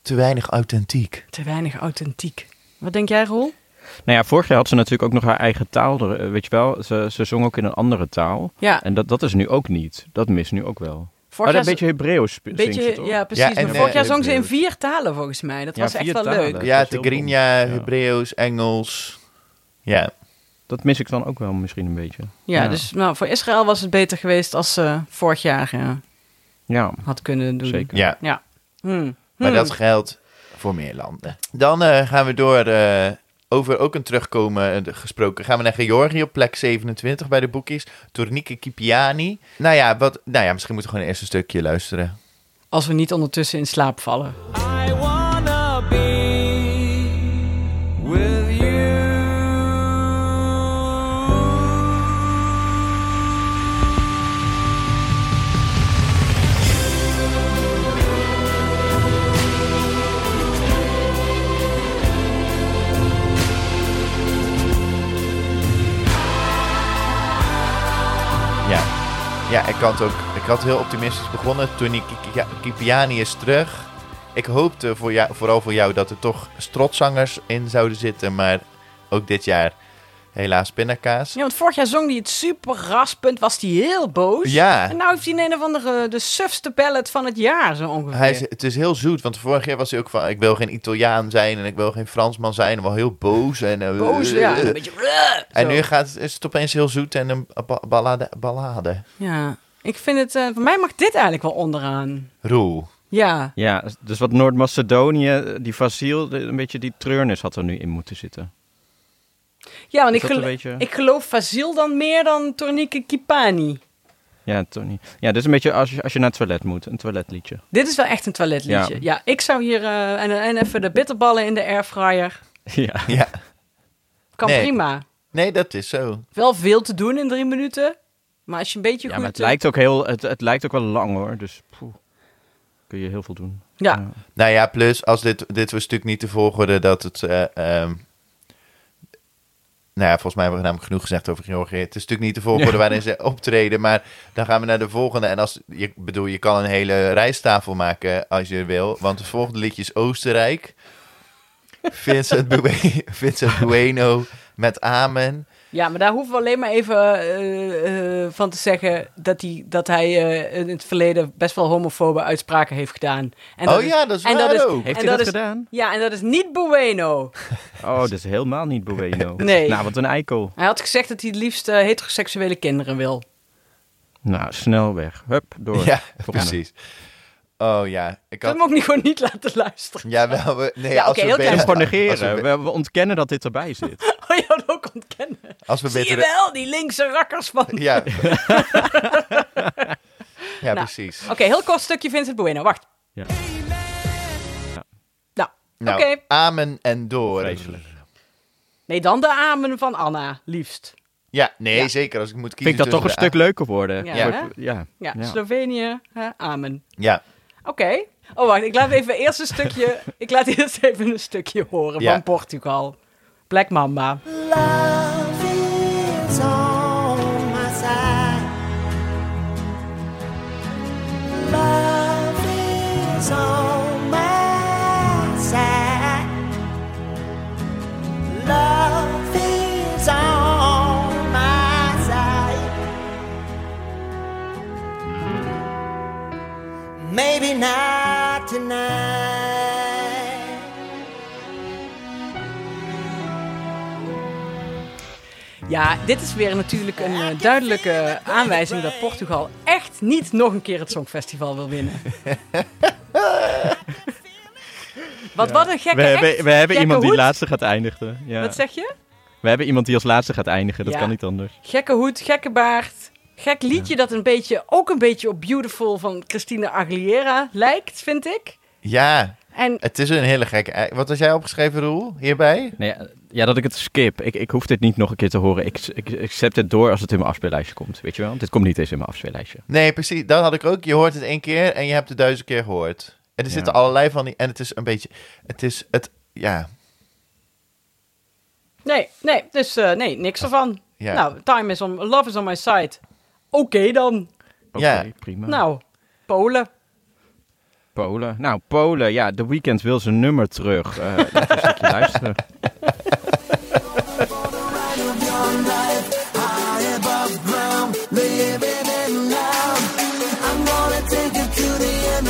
S3: Te weinig authentiek.
S1: Te weinig authentiek. Wat denk jij, Roel?
S2: Nou ja, vorig jaar had ze natuurlijk ook nog haar eigen taal. er- eh, Weet je wel, ze, ze zong ook in een andere taal.
S1: Ja.
S2: En dat, dat is nu ook niet. Dat mist nu ook wel. Maar
S1: Vorig
S2: een
S1: jaar
S2: beetje Hebreeuws zingt ze
S1: beetje
S2: toch?
S1: ja, precies.
S3: Ja, en,
S1: maar vorig
S3: eh,
S1: jaar zong ze in
S2: Hebreeuws.
S1: vier talen volgens mij. Dat
S2: Ja,
S1: was echt
S2: vier
S1: wel
S2: talen.
S1: leuk.
S2: Dat
S3: Ja,
S2: was heel
S3: Tigrinya,
S2: dom. Ja.
S3: Hebreeuws, Engels. Ja.
S2: Dat mis ik dan ook wel misschien een beetje.
S1: Ja, dus nou, voor Israël was het beter geweest als ze vorig jaar eh,
S2: Ja,
S1: had kunnen doen.
S2: zeker.
S3: ja.
S1: Ja. Hm.
S3: Maar dat geldt voor meer landen. Dan eh, gaan we door. eh, over ook een terugkomen eh, gesproken. Gaan we naar Georgië op plek 27 bij de boekies. Tournike Kipiani. Nou ja, wat, nou ja, misschien moeten we gewoon eerst een stukje luisteren.
S1: Als we niet ondertussen in slaap vallen.
S6: I wanna be with you.
S3: Ja, ja ik had ook. Ik had heel optimistisch begonnen. Tournike Kipiani is terug. Ik hoopte voor jou, vooral voor jou dat er toch strotzangers in zouden zitten. Maar ook dit jaar helaas pindakaas.
S1: Ja, want vorig jaar zong hij het super raspend, was hij heel boos.
S3: Ja.
S1: En nou heeft hij een of andere, de sufste ballet van het jaar zo ongeveer.
S3: Hij is, het is heel zoet, want vorig jaar was hij ook van... ik wil geen Italiaan zijn en ik wil geen Fransman zijn. En wel heel boos. En, eh,
S1: boos,
S3: eh, <laughs>
S1: ja.
S3: eh.
S1: Een beetje... "Bruh",
S3: En
S1: zo.
S3: nu gaat, is het opeens heel zoet en een ba- ballade. ballade.
S1: Ja, ik vind het... eh, voor mij mag dit eigenlijk wel onderaan.
S3: Roel.
S1: Ja.
S2: Ja, dus wat Noord-Macedonië, die Vasiel, de- een beetje die treurnis had er nu in moeten zitten.
S1: Ja, want ik,
S2: Is dat een
S1: gelo-
S2: beetje-
S1: ik geloof Fazil dan meer dan Tornike Kipani.
S2: Ja, Tony. Ja, dit is een beetje als je, als je naar het toilet moet, een toiletliedje. <laughs>
S1: Dit is wel echt een toiletliedje. Ja,
S2: Ja.
S1: ik zou hier... eh, en, en even de bitterballen in de airfryer.
S2: Ja.
S3: Ja.
S1: Kan
S3: Nee.
S1: prima.
S3: Nee, dat is zo.
S1: Wel veel te doen in drie minuten. Maar als je een beetje
S2: Ja,
S1: goed...
S2: maar het
S1: eh,
S2: lijkt ook heel, het, het lijkt ook wel lang hoor, dus poeh, kun je heel veel doen.
S1: Ja.
S3: Nou ja, plus als dit, dit was natuurlijk niet de volgorde dat het... eh, ehm, nou ja, volgens mij hebben we namelijk genoeg gezegd over Georgië. Het is natuurlijk niet de volgorde waarin ze <laughs> optreden, maar dan gaan we naar de volgende. En als, je, bedoel, je kan een hele rijsttafel maken als je wil, want het volgende liedje is Oostenrijk.
S1: <laughs>
S3: Vincent, Bue- Vincent Bueno met Amen.
S1: Ja, maar daar hoeven we alleen maar even eh, eh, van te zeggen dat hij, dat hij eh, in het verleden best wel homofobe uitspraken heeft gedaan. En
S3: Oh ja, dat is
S1: en
S3: waar
S1: dat is,
S3: ook.
S2: Heeft
S1: en
S2: hij dat
S1: is-
S2: gedaan?
S1: Ja, en dat is niet Bueno.
S2: Oh, dat is helemaal niet Bueno.
S1: <laughs> Nee.
S2: Nou, wat een eikel.
S1: Hij had gezegd dat hij het liefst eh, heteroseksuele kinderen wil.
S2: Nou, snel weg. Hup, door.
S3: Ja,
S2: Volgende.
S3: precies. Oh ja, ik
S1: Dat
S3: had...
S1: hem ook niet gewoon niet laten luisteren.
S3: Jawel, we, nee,
S1: Ja,
S3: als,
S1: oké,
S3: we
S1: heel
S3: beter,
S1: klein.
S2: En
S1: Als
S2: gewoon
S3: als we
S2: negeren.
S3: be-
S2: We, we ontkennen dat dit erbij zit.
S1: Oh, je had ook ontkennen.
S3: als we
S1: Zie je
S3: beter
S1: wel, die linkse rakkers van...
S2: <laughs>
S3: Ja. ja,
S1: Nou,
S3: precies.
S1: Oké, heel kort stukje Vincent Bueno. Wacht.
S2: Ja.
S1: Nou,
S3: Nou,
S1: oké.
S3: amen en door.
S2: Vreselijk.
S1: Nee, dan de amen van Anna, liefst.
S3: Ja, nee,
S1: Ja.
S3: zeker. Als ik moet kiezen
S2: Vind ik dat toch een
S3: tussen
S2: stuk
S3: de
S2: leuker worden.
S1: Ja,
S2: Wordt-
S1: hè?
S2: ja.
S1: Ja,
S2: Ja.
S1: Slovenië, hè, amen.
S3: a- Ja,
S1: Oké. Oh, wacht. Ik laat even eerst een
S2: <laughs>
S1: stukje... ik laat eerst even een stukje horen
S3: Ja.
S1: van Portugal. Black Mamba.
S5: Love is on my side. Love is on my side. Love is on my side. Maybe not tonight.
S1: Ja, dit is weer natuurlijk een eh, duidelijke aanwijzing dat Portugal echt niet nog een keer het Songfestival wil winnen.
S2: <laughs>
S1: Wat, wat een gekke
S2: We hebben,
S1: act,
S2: we hebben
S1: gekke
S2: iemand die
S1: hoed.
S2: laatste gaat eindigen. Ja.
S1: Wat zeg je?
S2: We hebben iemand die als laatste gaat eindigen. Dat
S1: Ja.
S2: kan niet anders.
S1: Gekke hoed, gekke baard. Gek liedje dat een beetje, ook een beetje op Beautiful van Christina Aguilera lijkt, vind ik.
S3: ja,
S1: En
S3: het is een hele gekke... ei- Wat had jij opgeschreven, Roel, hierbij?
S2: Nee, ja, ja, dat ik het skip. Ik, ik hoef dit niet nog een keer te horen. Ik, ik, ik zet het door als het in mijn afspeellijstje komt. Weet je wel? Dit komt niet eens in mijn afspeellijstje.
S3: Nee, precies. Dat had ik ook. Je hoort het één keer en je hebt het duizend keer gehoord. En er
S2: Ja.
S3: zitten allerlei van die... En het is een beetje... Het is... Het, ja,
S1: nee, nee, dus eh, nee, niks ervan.
S3: Ja.
S1: Nou, time is on, love is on my side. Oké dan.
S2: Oké,
S3: Ja.
S2: prima.
S1: Nou, Polen.
S2: Polen. Nou, Polen. Ja, The Weeknd wil zijn nummer terug. Eh, laten we een stukje luisteren.
S5: I'm gonna take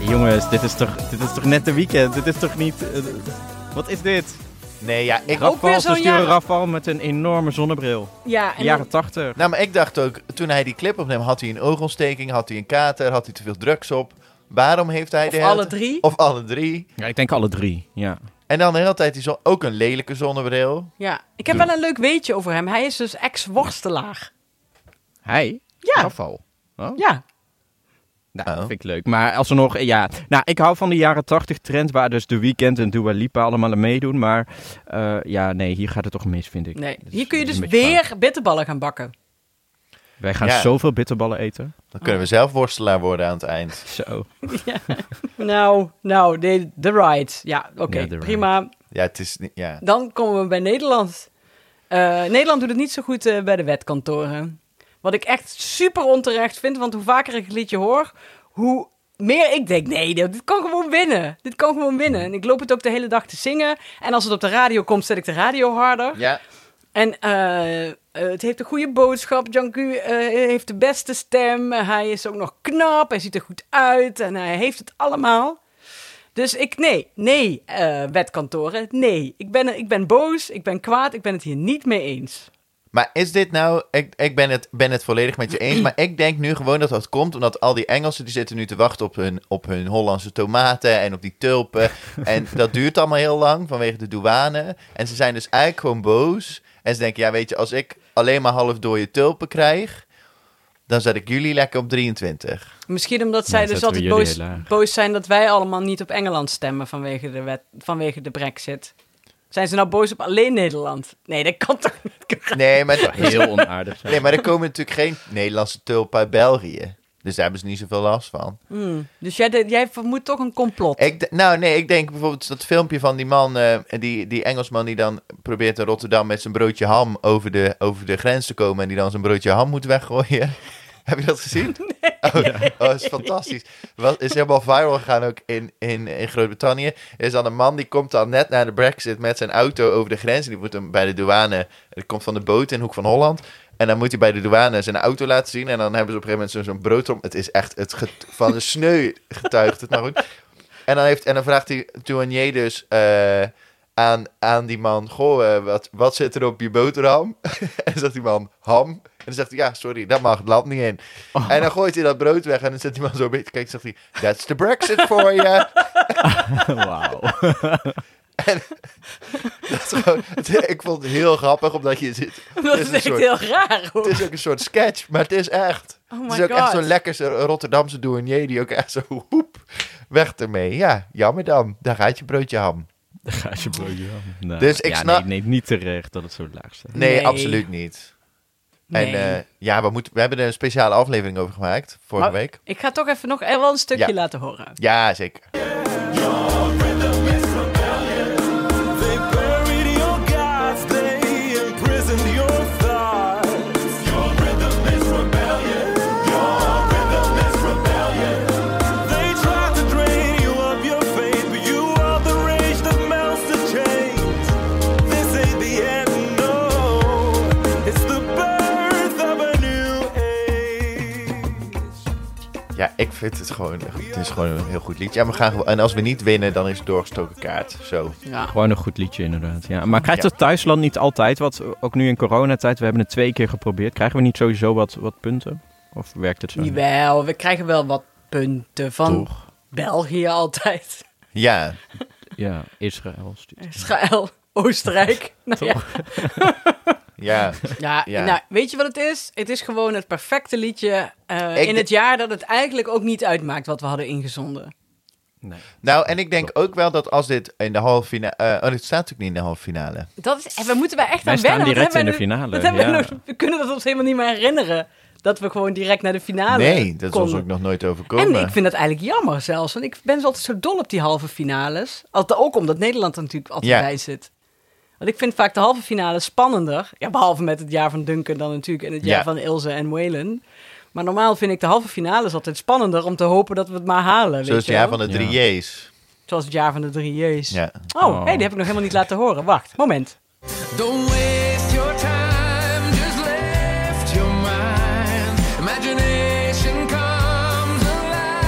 S2: jongens, dit is toch, dit is toch net de weekend? Dit is toch niet... eh, wat is dit?
S3: Nee, ja, ik...
S1: Ook weer
S2: Rafal, ze
S1: zo'n
S2: sturen
S1: jaar-
S2: Rafal met een enorme zonnebril.
S1: Ja, en
S2: Jaren tachtig.
S3: Nou, maar ik dacht ook, toen hij die clip opnam, had hij een oogontsteking, had hij een kater, had hij te veel drugs op. Waarom heeft hij de
S1: of
S3: hele
S1: alle
S3: tijd-
S1: drie.
S3: Of alle drie.
S2: Ja, ik denk alle drie, ja.
S3: En dan de hele tijd die zon, ook een lelijke zonnebril.
S1: Ja, ik heb wel een leuk weetje over hem. Hij is dus ex-worstelaar.
S2: Hij?
S1: Ja.
S2: Rafal.
S1: Ja,
S2: Nou,
S3: Oh.
S2: dat vind ik leuk. Maar alsnog, ja. Nou, ik hou van de jaren 80 trend waar dus de weekend en Dua Lipa allemaal aan meedoen. Maar eh, ja, nee, hier gaat het toch mis, vind ik.
S1: nee.
S2: Dat is-
S1: Hier kun je
S2: dat
S1: dus
S2: is een beetje
S1: weer bitterballen gaan bakken.
S2: fout. Wij gaan
S3: Ja.
S2: zoveel bitterballen eten.
S3: Dan kunnen we zelf worstelaar worden aan het eind.
S2: Zo.
S1: Nou, nou, de, de ride. Ja, oké,
S2: Ja, de
S1: prima.
S3: Ja, het is niet... Ja.
S1: Dan komen we bij Nederland. Eh, Nederland doet het niet zo goed eh, bij de wetkantoren. Wat ik echt super onterecht vind, want hoe vaker ik het liedje hoor, hoe meer ik denk: nee, dit dit kan gewoon winnen. Dit kan gewoon winnen. En ik loop het ook de hele dag te zingen. En als het op de radio komt, zet ik de radio harder.
S3: Ja,
S1: En eh, eh, het heeft een goede boodschap. Janku heeft de beste stem. Hij is ook nog knap. Hij ziet er goed uit. En hij heeft het allemaal. Dus ik, nee, nee, eh, wetkantoren, nee. Ik ben, ik ben boos, ik ben kwaad, ik ben het hier niet mee eens.
S3: Maar is dit nou... Ik, ik ben, het, ben het volledig met je eens, maar ik denk nu gewoon dat dat komt... omdat al die Engelsen die zitten nu te wachten op hun, op hun Hollandse tomaten en op die tulpen. En dat duurt allemaal heel lang vanwege de douane. En ze zijn dus eigenlijk gewoon boos. En ze denken, ja weet je, als ik alleen maar half dode tulpen krijg... dan zet ik jullie lekker
S1: <laughs>
S3: op 23.
S1: Misschien omdat zij dus
S2: Nou, zetten we
S1: altijd
S2: jullie
S1: boos,
S2: heel laag.
S1: boos zijn dat wij allemaal niet op Engeland stemmen vanwege de, wet, vanwege de brexit. Zijn ze nou boos op alleen Nederland? Nee, dat kan toch niet.
S3: Nee, maar,
S2: <laughs> Heel onaardig.
S3: nee, maar er komen natuurlijk geen Nederlandse tulpen uit België. Dus daar hebben ze niet zoveel last van.
S1: Dus jij, jij vermoedt toch een complot?
S3: Ik, d- nou, nee, ik denk bijvoorbeeld dat filmpje van die man, eh, die, die Engelsman die dan probeert in Rotterdam met zijn broodje ham over de, over de grens te komen en die dan zijn broodje ham moet weggooien. <laughs> Heb je dat gezien? Oh, oh, dat is fantastisch. Wat is helemaal viral gegaan ook in, in, in Groot-Brittannië. Er is dan een man die komt dan net na de brexit met zijn auto over de grens. En die moet hem bij de douane, die komt van de boot in Hoek van Holland. En dan moet hij bij de douane zijn auto laten zien. En dan hebben ze op een gegeven moment zo'n zo'n broodtrom. Het is echt het get- van de sneu getuigt het maar goed. En dan, heeft, en dan vraagt die douanier dus eh, aan, aan die man... Goh, eh, wat, wat zit er op je boterham? <laughs> en dan zegt die man, ham. En dan zegt hij, ja, sorry, dat mag het land niet in.
S1: Oh.
S3: En dan gooit hij dat brood weg en dan zet die man zo een beetje... Kijk, zegt hij, that's the brexit for you. <laughs>
S2: Wauw.
S3: Dat is gewoon- het- ik vond het heel grappig, omdat je zit...
S1: <laughs> <laughs> dat
S3: is
S1: is
S3: een
S1: echt
S3: soort-
S1: heel raar hoor.
S3: Het is ook een soort sketch, maar het is echt.
S1: Oh my
S3: het is ook echt
S1: God.
S3: zo'n lekker Rotterdamse douanier die ook echt zo hoep weg ermee. Ja, jammer dan. Daar gaat je broodje
S2: <laughs>
S3: ham.
S2: Ga alsjeblieft. Nou,
S3: Dus ik
S2: ja,
S3: snap-
S2: Nee, nee, niet terecht dat het zo laag staat.
S3: Nee,
S1: Nee.
S3: absoluut niet. En
S1: Nee.
S3: eh, ja, we, moeten, we hebben er een speciale aflevering over gemaakt vorige
S1: Maar
S3: week.
S1: Ik ga toch even nog er wel een stukje
S3: Ja.
S1: laten horen.
S3: Ja, zeker.
S4: They buried your gods, they imprisoned your thoughts. Your rhythm is rebellion. Your rhythm is rebellion. They tried to drain you of your faith, but you are the rage that melts the chains. This ain't the end, no. It's the birth of a new age.
S3: Ja, ik vind het gewoon, het is gewoon een heel goed lied. Ja, we gaan gewoon, en als we niet winnen, dan is het doorgestoken kaart. Zo.
S1: Ja.
S2: Gewoon een goed liedje inderdaad, ja. Maar krijgt
S3: Ja.
S2: het thuisland niet altijd wat? Ook nu in coronatijd, we hebben het twee keer geprobeerd. Krijgen we niet sowieso wat, wat punten? Of werkt het zo? niet?
S1: Jawel, we krijgen wel wat punten van België altijd. <laughs>
S3: Ja,
S2: Ja, Israël. stuurt-
S1: Israël,
S3: <laughs>
S1: Oostenrijk. Nou ja. <laughs>
S3: ja.
S1: Ja,
S3: Ja.
S1: Nou, weet je wat het is? Het is gewoon het perfecte liedje eh,
S3: Ik
S1: in
S3: de-
S1: het jaar dat het eigenlijk ook niet uitmaakt wat we hadden ingezonden.
S3: Nou, en ik denk ook wel dat als dit in de halve finale... eh, oh, dit staat natuurlijk niet in de halve finale.
S1: Dat is, en we moeten wij echt
S2: Wij
S1: aan
S2: staan
S1: wennen. want
S2: direct
S1: hebben
S2: in
S1: wij
S2: de
S1: nu-
S2: finale,
S1: Dat hebben
S2: ja.
S1: we, nog- we kunnen dat ons helemaal niet meer herinneren. Dat we gewoon direct naar de finale
S3: Nee, dat is ons
S1: konden.
S3: ook nog nooit overkomen.
S1: Ah, En ik vind dat eigenlijk jammer zelfs. Want ik ben altijd zo dol op die halve finales. Al- Ook omdat Nederland er natuurlijk altijd
S3: Ja.
S1: bij zit. Want ik vind vaak de halve finale spannender. Ja, behalve met het jaar van Duncan dan natuurlijk. En het jaar
S3: Ja.
S1: van Ilse en Whalen. Maar normaal vind ik de halve finales altijd spannender. Om te hopen dat we het maar halen. weet
S3: Zoals het
S1: je
S3: jaar
S1: wel?
S3: van de drie J's.
S1: Zoals het jaar van de drie J's.
S3: Ja.
S1: Oh, hey, die heb ik nog helemaal niet laten horen. Wacht, moment.
S5: Don't waste your time, just lift your mind. Imagination comes alive.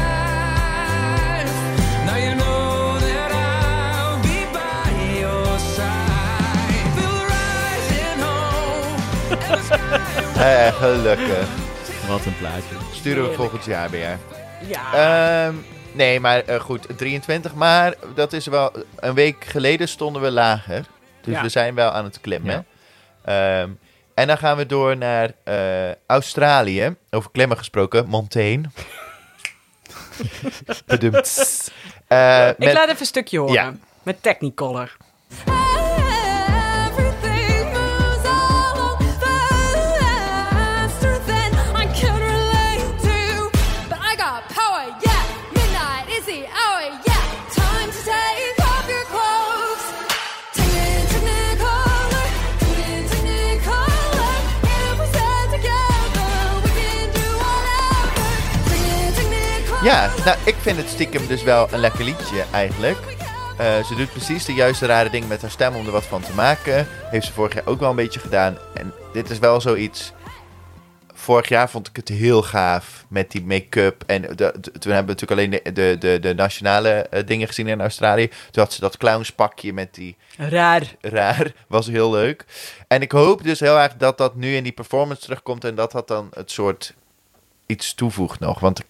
S3: Eh, gelukkig.
S2: Wat een plaatje.
S3: Sturen we volgend jaar weer.
S1: Ja.
S3: Ehm, nee, maar eh, goed, 23. Maar dat is wel... Een week geleden stonden we lager. Dus
S1: Ja.
S3: we zijn wel aan het klimmen. Ehm, en dan gaan we door naar eh, Australië. Over klimmen gesproken,
S1: <laughs>
S3: Montaigne. Bedoemd. Eh,
S1: Ik
S3: met-
S1: laat even een stukje horen.
S3: Ja.
S1: Met Technicolor.
S7: Everything moves all faster than I can relate to. But I got power, yeah. Midnight is the hour, yeah. Time to take off your clothes. Technicolor, Technicolor. If we stand together, we can do whatever. Technicolor.
S3: Ja, nou, ik vind het stiekem dus wel een lekker liedje eigenlijk. Eh, ze doet precies de juiste rare ding met haar stem om er wat van te maken. Heeft ze vorig jaar ook wel een beetje gedaan. En dit is wel zoiets. Vorig jaar vond ik het heel gaaf met die make-up. En de- de- toen hebben we natuurlijk alleen de, de, de, de nationale eh, dingen gezien in Australië. Toen had ze dat clownspakje met die
S1: Raar.
S3: raar. <laughs> Was heel leuk. En ik hoop dus heel erg dat dat nu in die performance terugkomt. En dat dat dan het soort iets toevoegt nog. Want ik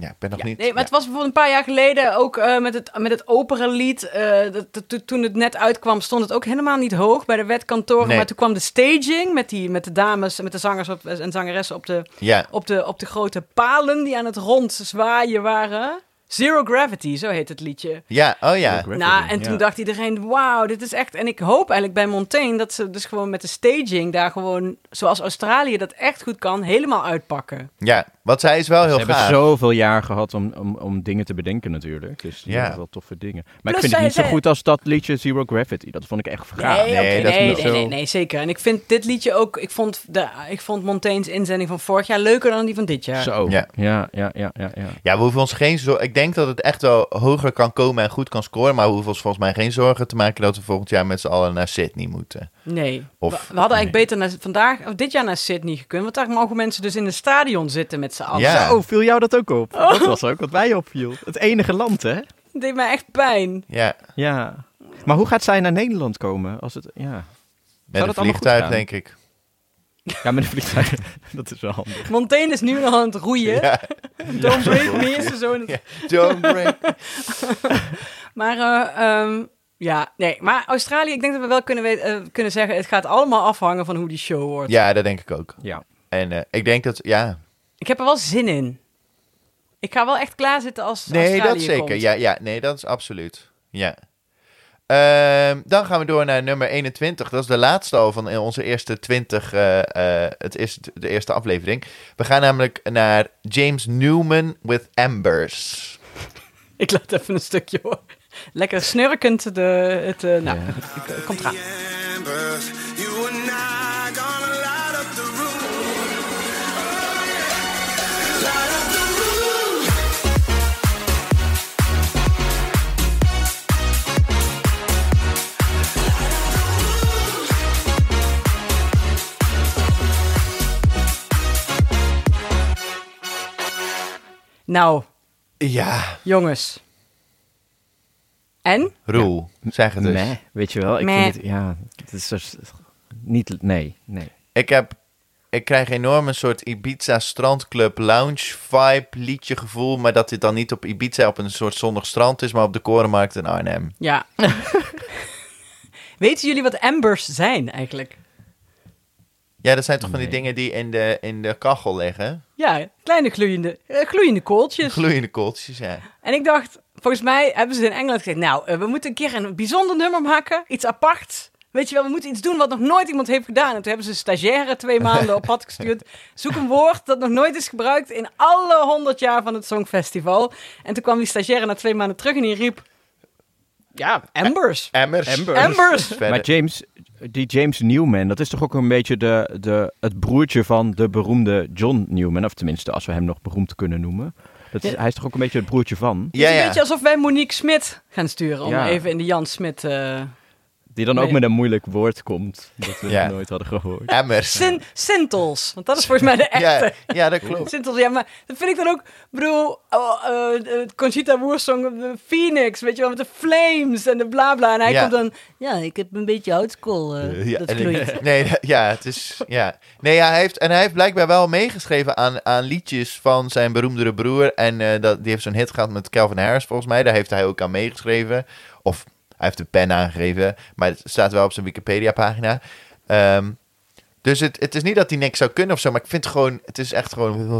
S3: ja, ik ben nog
S1: Ja.
S3: niet...
S1: Nee, maar
S3: ja.
S1: het was bijvoorbeeld een paar jaar geleden ook eh, met het, met het operalied. eh, dat- dat- to- toen het net uitkwam, stond het ook helemaal niet hoog bij de wetkantoren.
S3: Nee.
S1: Maar toen kwam de staging met, die, met de dames, met de zangers op, en zangeressen op de,
S3: Ja,
S1: op, de, op de grote palen die aan het rond zwaaien waren. Zero Gravity, zo heet het liedje.
S3: ja, oh ja.
S1: Nou, en toen
S2: Ja.
S1: dacht iedereen, wauw, dit is echt... En ik hoop eigenlijk bij Montaigne dat ze dus gewoon met de staging daar gewoon... zoals Australië dat echt goed kan, helemaal uitpakken.
S3: Ja, want zij is wel
S2: Ze
S3: heel
S2: hebben
S3: gaaf.
S2: zoveel jaar gehad om, om, om dingen te bedenken natuurlijk. Dus
S3: Ja.
S2: ja. wel toffe dingen. Maar
S1: Plus
S2: ik vind het
S1: zij-
S2: niet zo
S1: zij-
S2: goed als dat liedje Zero Gravity. Dat vond ik echt gaaf.
S1: Nee, oké,
S3: nee, dat is
S1: nee,
S3: niet
S1: nee,
S3: zo.
S1: nee, nee, zeker. En ik vind dit liedje ook... Ik vond, de, ik vond Montaigne's inzending van vorig jaar leuker dan die van dit jaar.
S2: Zo.
S3: Ja.
S2: Ja. Ja, ja, ja, ja,
S3: Ja, we hoeven ons geen zorgen... Ik denk dat het echt wel hoger kan komen en goed kan scoren. Maar we hoeven ons volgens mij geen zorgen te maken dat we volgend jaar met z'n allen naar Sydney moeten.
S1: Nee.
S3: Of-
S1: we, we hadden eigenlijk beter naar, vandaag, of dit jaar naar Sydney gekund. Want daar mogen mensen dus in het stadion zitten met z'n allen.
S3: Ja.
S2: Zo, Oh, viel jou dat ook op? Dat was ook wat mij opviel. Het enige land, hè?
S1: Dat deed mij echt pijn.
S3: Ja,
S2: Ja. Maar hoe gaat zij naar Nederland komen? Als het, ja.
S3: met een
S2: dat allemaal goed
S3: vliegtuig
S2: gaan?
S3: denk ik.
S2: ja, met een vliegtuig. dat is wel <laughs> handig.
S1: Montaigne is nu nog aan het roeien.
S3: Ja.
S1: <laughs> Don't break me is er zo in het
S2: <laughs>
S3: Don't break.
S1: Maar eh, ehm, ja, nee. Maar Australië, ik denk dat we wel kunnen, weten- eh, kunnen zeggen... het gaat allemaal afhangen van hoe die show wordt.
S3: Ja, dat denk ik ook.
S2: Ja.
S3: En eh, ik denk dat... Ja,
S1: Ik heb er wel zin in. Ik ga wel echt klaarzitten als
S3: nee,
S1: Australië
S3: dat zeker.
S1: komt.
S3: Ja, ja, nee, dat is absoluut. Ja. Ehm, dan gaan we door naar nummer 21. Dat is de laatste al van eh, onze eerste 20. eh, eh, het is de eerste aflevering. We gaan namelijk naar James Newman with Ambers.
S1: <laughs> Ik laat even een stukje hoor. Lekker snurkend. De, het, eh, nou, ik- eh, komt eraan.
S4: Ambers, you and I gonna light up the room. Light up the room.
S1: Nou,
S3: Ja,
S1: jongens. En?
S3: Roel, zeg het dus. eens.
S2: Meh, weet je wel. Ik
S1: Meh.
S2: vind het, ja, het is dus niet, nee, nee.
S3: Ik, heb, ik krijg enorm een soort Ibiza strandclub lounge vibe liedje gevoel. Maar dat dit dan niet op Ibiza op een soort zonnig strand is, maar op de Korenmarkt in Arnhem.
S1: Ja. Weten jullie wat ambers zijn eigenlijk?
S3: Ja, dat zijn toch van die dingen die in de, in de kachel liggen?
S1: Ja, kleine gloeiende, eh, gloeiende kooltjes.
S3: Gloeiende kooltjes, ja.
S1: En ik dacht, volgens mij hebben ze in Engeland gezegd... nou, eh, we moeten een keer een bijzonder nummer maken. Iets aparts. Weet je wel, we moeten iets doen wat nog nooit iemand heeft gedaan. En toen hebben ze een stagiaire
S3: <laughs>
S1: twee maanden op pad gestuurd. Zoek een woord dat nog nooit is gebruikt in alle honderd jaar van het Songfestival. En toen kwam die stagiaire na twee maanden terug en die riep... Ja, Embers.
S3: Emmers.
S2: Ambers.
S1: Embers.
S3: Verder.
S2: Maar James, die James Newman, dat is toch ook een beetje de, de, het broertje van de beroemde John Newman. Of tenminste, als we hem nog beroemd kunnen noemen. Dat is,
S1: Ja.
S2: Hij is toch ook een beetje het broertje van?
S1: Het
S3: ja,
S1: is een
S3: ja.
S1: beetje alsof wij Monique Smit gaan sturen. Om
S2: Ja.
S1: even in de Jan Smit... eh,
S2: Die dan ook
S1: Nee.
S2: met een moeilijk woord komt, dat we
S3: Ja.
S2: nog nooit hadden gehoord.
S3: Emmers.
S1: Sin- Sintels. Want dat is volgens mij de echte.
S3: Ja, ja, dat klopt.
S1: Sintels, ja, maar dat vind ik dan ook... Ik bedoel, oh, eh, eh, Conchita Woorsong, de Phoenix, weet je wel, met de flames en de bla bla. En hij
S3: Ja.
S1: komt dan... Ja, ik heb een beetje houtskool. eh,
S3: Ja,
S1: dat
S3: en ik- <laughs>
S1: vloeit.
S3: nee, ja, het is. Ja. Nee, ja, hij heeft, en hij heeft blijkbaar wel meegeschreven aan, aan liedjes van zijn beroemdere broer. En eh, dat, die heeft zo'n hit gehad met Calvin Harris, volgens mij. Daar heeft hij ook aan meegeschreven. Of hij heeft de pen aangegeven, maar het staat wel op zijn Wikipedia-pagina. Ehm, dus het, het is niet dat hij niks zou kunnen of zo, maar ik vind gewoon, het is echt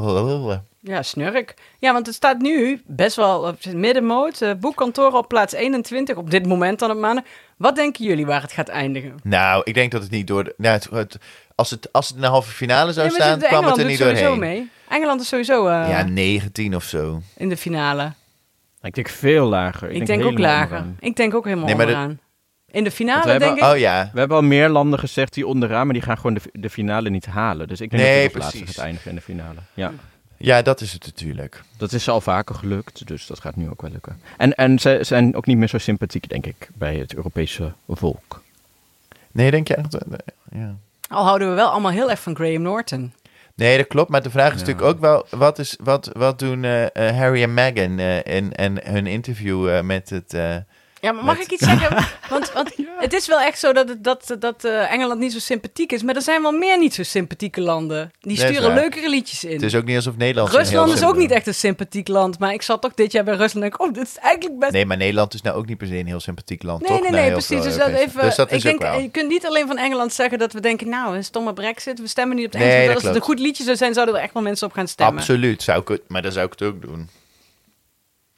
S3: gewoon.
S1: Ja, snurk. Ja, want het staat nu best wel op het middenmoot. Eh, boekkantoor op plaats 21, op dit moment dan op maanden. Wat denken jullie waar het gaat eindigen?
S3: Nou, ik denk dat het niet door. de- Nou, het, het- als, het, als het in de halve finale zou
S1: Nee, maar
S3: staan,
S1: de- de
S3: kwam het er
S1: doet
S3: niet
S1: dus sowieso
S3: doorheen.
S1: mee. Engeland is sowieso eh,
S3: Ja, 19 of zo.
S1: in de finale.
S2: Ik denk veel lager.
S1: Ik, denk, ook
S2: helemaal
S1: lager.
S2: onderaan.
S1: Ik denk ook helemaal
S3: Nee, maar de-
S1: onderaan. In de
S2: Want
S1: finale
S2: we
S1: denk ik...
S3: Oh ja.
S2: We hebben al meer landen gezegd die onderaan, maar die gaan gewoon de, de finale niet halen. Dus ik denk
S3: Nee,
S2: dat het als laatste
S3: precies.
S2: gaat eindigen in de finale. Ja.
S3: Ja, dat is het natuurlijk.
S2: Dat is ze al vaker gelukt, dus dat gaat nu ook wel lukken. En, en ze zijn ook niet meer zo sympathiek, denk ik, bij het Europese volk.
S3: Nee, denk je echt? Ja.
S1: Al houden we wel allemaal heel erg van Graham Norton.
S3: Nee, dat klopt. Maar de vraag is natuurlijk ook wel... wat, is, wat, wat doen eh, eh, Harry en Meghan eh, en, en hun interview eh, met het... eh,
S1: Ja, maar mag
S3: Met-
S1: ik iets
S3: <laughs>
S1: zeggen? Want, want het is wel echt zo dat, het- dat, dat eh, Engeland niet zo sympathiek is. Maar er zijn wel meer niet zo sympathieke landen. Die
S3: Nee, is
S1: sturen
S3: waar.
S1: leukere liedjes in.
S3: het is ook niet alsof Nederland... zo'n
S1: Rusland
S3: heel
S1: is ook
S3: simpel-
S1: niet echt een sympathiek land. Maar ik zat toch dit jaar bij Rusland en denk ik, oh, dit is eigenlijk best...
S3: Nee, maar Nederland is nou ook niet per se een heel sympathiek land,
S1: Nee,
S3: toch?
S1: nee,
S3: Na
S1: nee,
S3: heel
S1: precies.
S3: veel
S1: Dus dat,
S3: Europese-
S1: even,
S3: Dus dat
S1: ik
S3: is
S1: denk,
S3: ook wel.
S1: je kunt niet alleen van Engeland zeggen dat we denken, nou, een stomme brexit, we stemmen niet op het
S3: Nee,
S1: Engels.
S3: dat
S1: Want als het een
S3: klopt.
S1: goed liedje zou zijn, zouden er echt wel mensen op gaan stemmen.
S3: Absoluut, zou ik het, maar dan zou ik het ook
S1: <laughs>
S3: doen.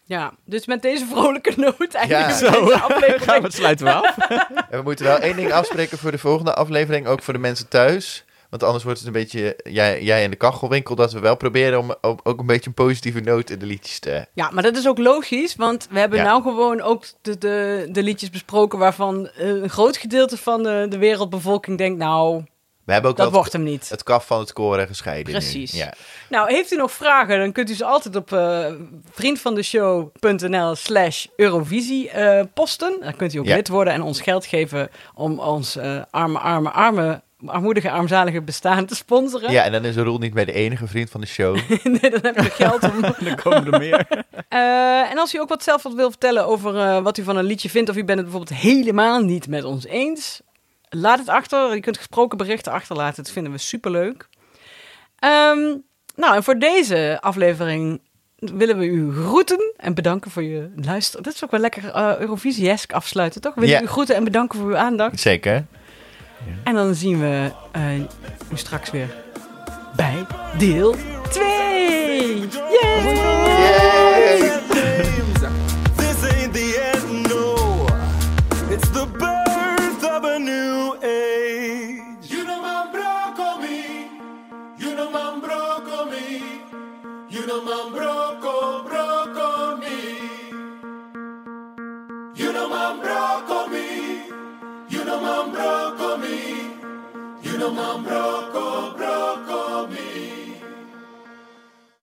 S1: Ja, dus met deze vrolijke noot eigenlijk
S3: Ja.
S1: zo.
S3: <laughs>
S2: Gaan we het sluiten wel af?
S3: En we moeten wel één ding afspreken voor de volgende aflevering, ook voor de mensen thuis. Want anders wordt het een beetje jij, jij in de kachelwinkel, dat we wel proberen om om ook een beetje een positieve noot in de liedjes te...
S1: Ja, maar dat is ook logisch, want we hebben
S3: Ja.
S1: nou gewoon ook de, de, de liedjes besproken waarvan eh, een groot gedeelte van de, de wereldbevolking denkt, nou,
S3: We hebben ook
S1: dat
S3: wel
S1: wordt hem niet.
S3: het kaf van het koren gescheiden nu.
S1: Precies.
S3: Ja.
S1: Nou, heeft u nog vragen, dan kunt u ze altijd op eh vriendvandeshow.nl slash Eurovisie eh, posten. Dan kunt u ook
S3: Ja.
S1: lid worden en ons geld geven om ons eh, arme, arme, arme, armoedige, armzalige bestaan te sponsoren.
S3: ja, en dan is Roel niet meer de enige vriend van de show.
S1: <laughs> nee, dan heb je geld om...
S3: <laughs>
S2: Dan <laughs> komen er meer.
S1: Eh, en als u ook wat zelf wat wil vertellen over eh, wat u van een liedje vindt... of u bent het bijvoorbeeld helemaal niet met ons eens... laat het achter. Je kunt gesproken berichten achterlaten. Dat vinden we superleuk. Ehm, nou, en voor deze aflevering willen we u groeten en bedanken voor je luisteren. Dat is ook wel lekker eh Eurovisie-esk afsluiten, toch? We willen
S3: Ja.
S1: u groeten en bedanken voor uw aandacht.
S3: Zeker.
S1: En dan zien we eh, u straks weer bij deel 2. Yay!
S4: This ain't the end, no. It's the birth of a new age. You know man broccoli. You know man broccoli. You know man broco broccoli. You know man broccoli. You know man broccoli. You know man broccoli.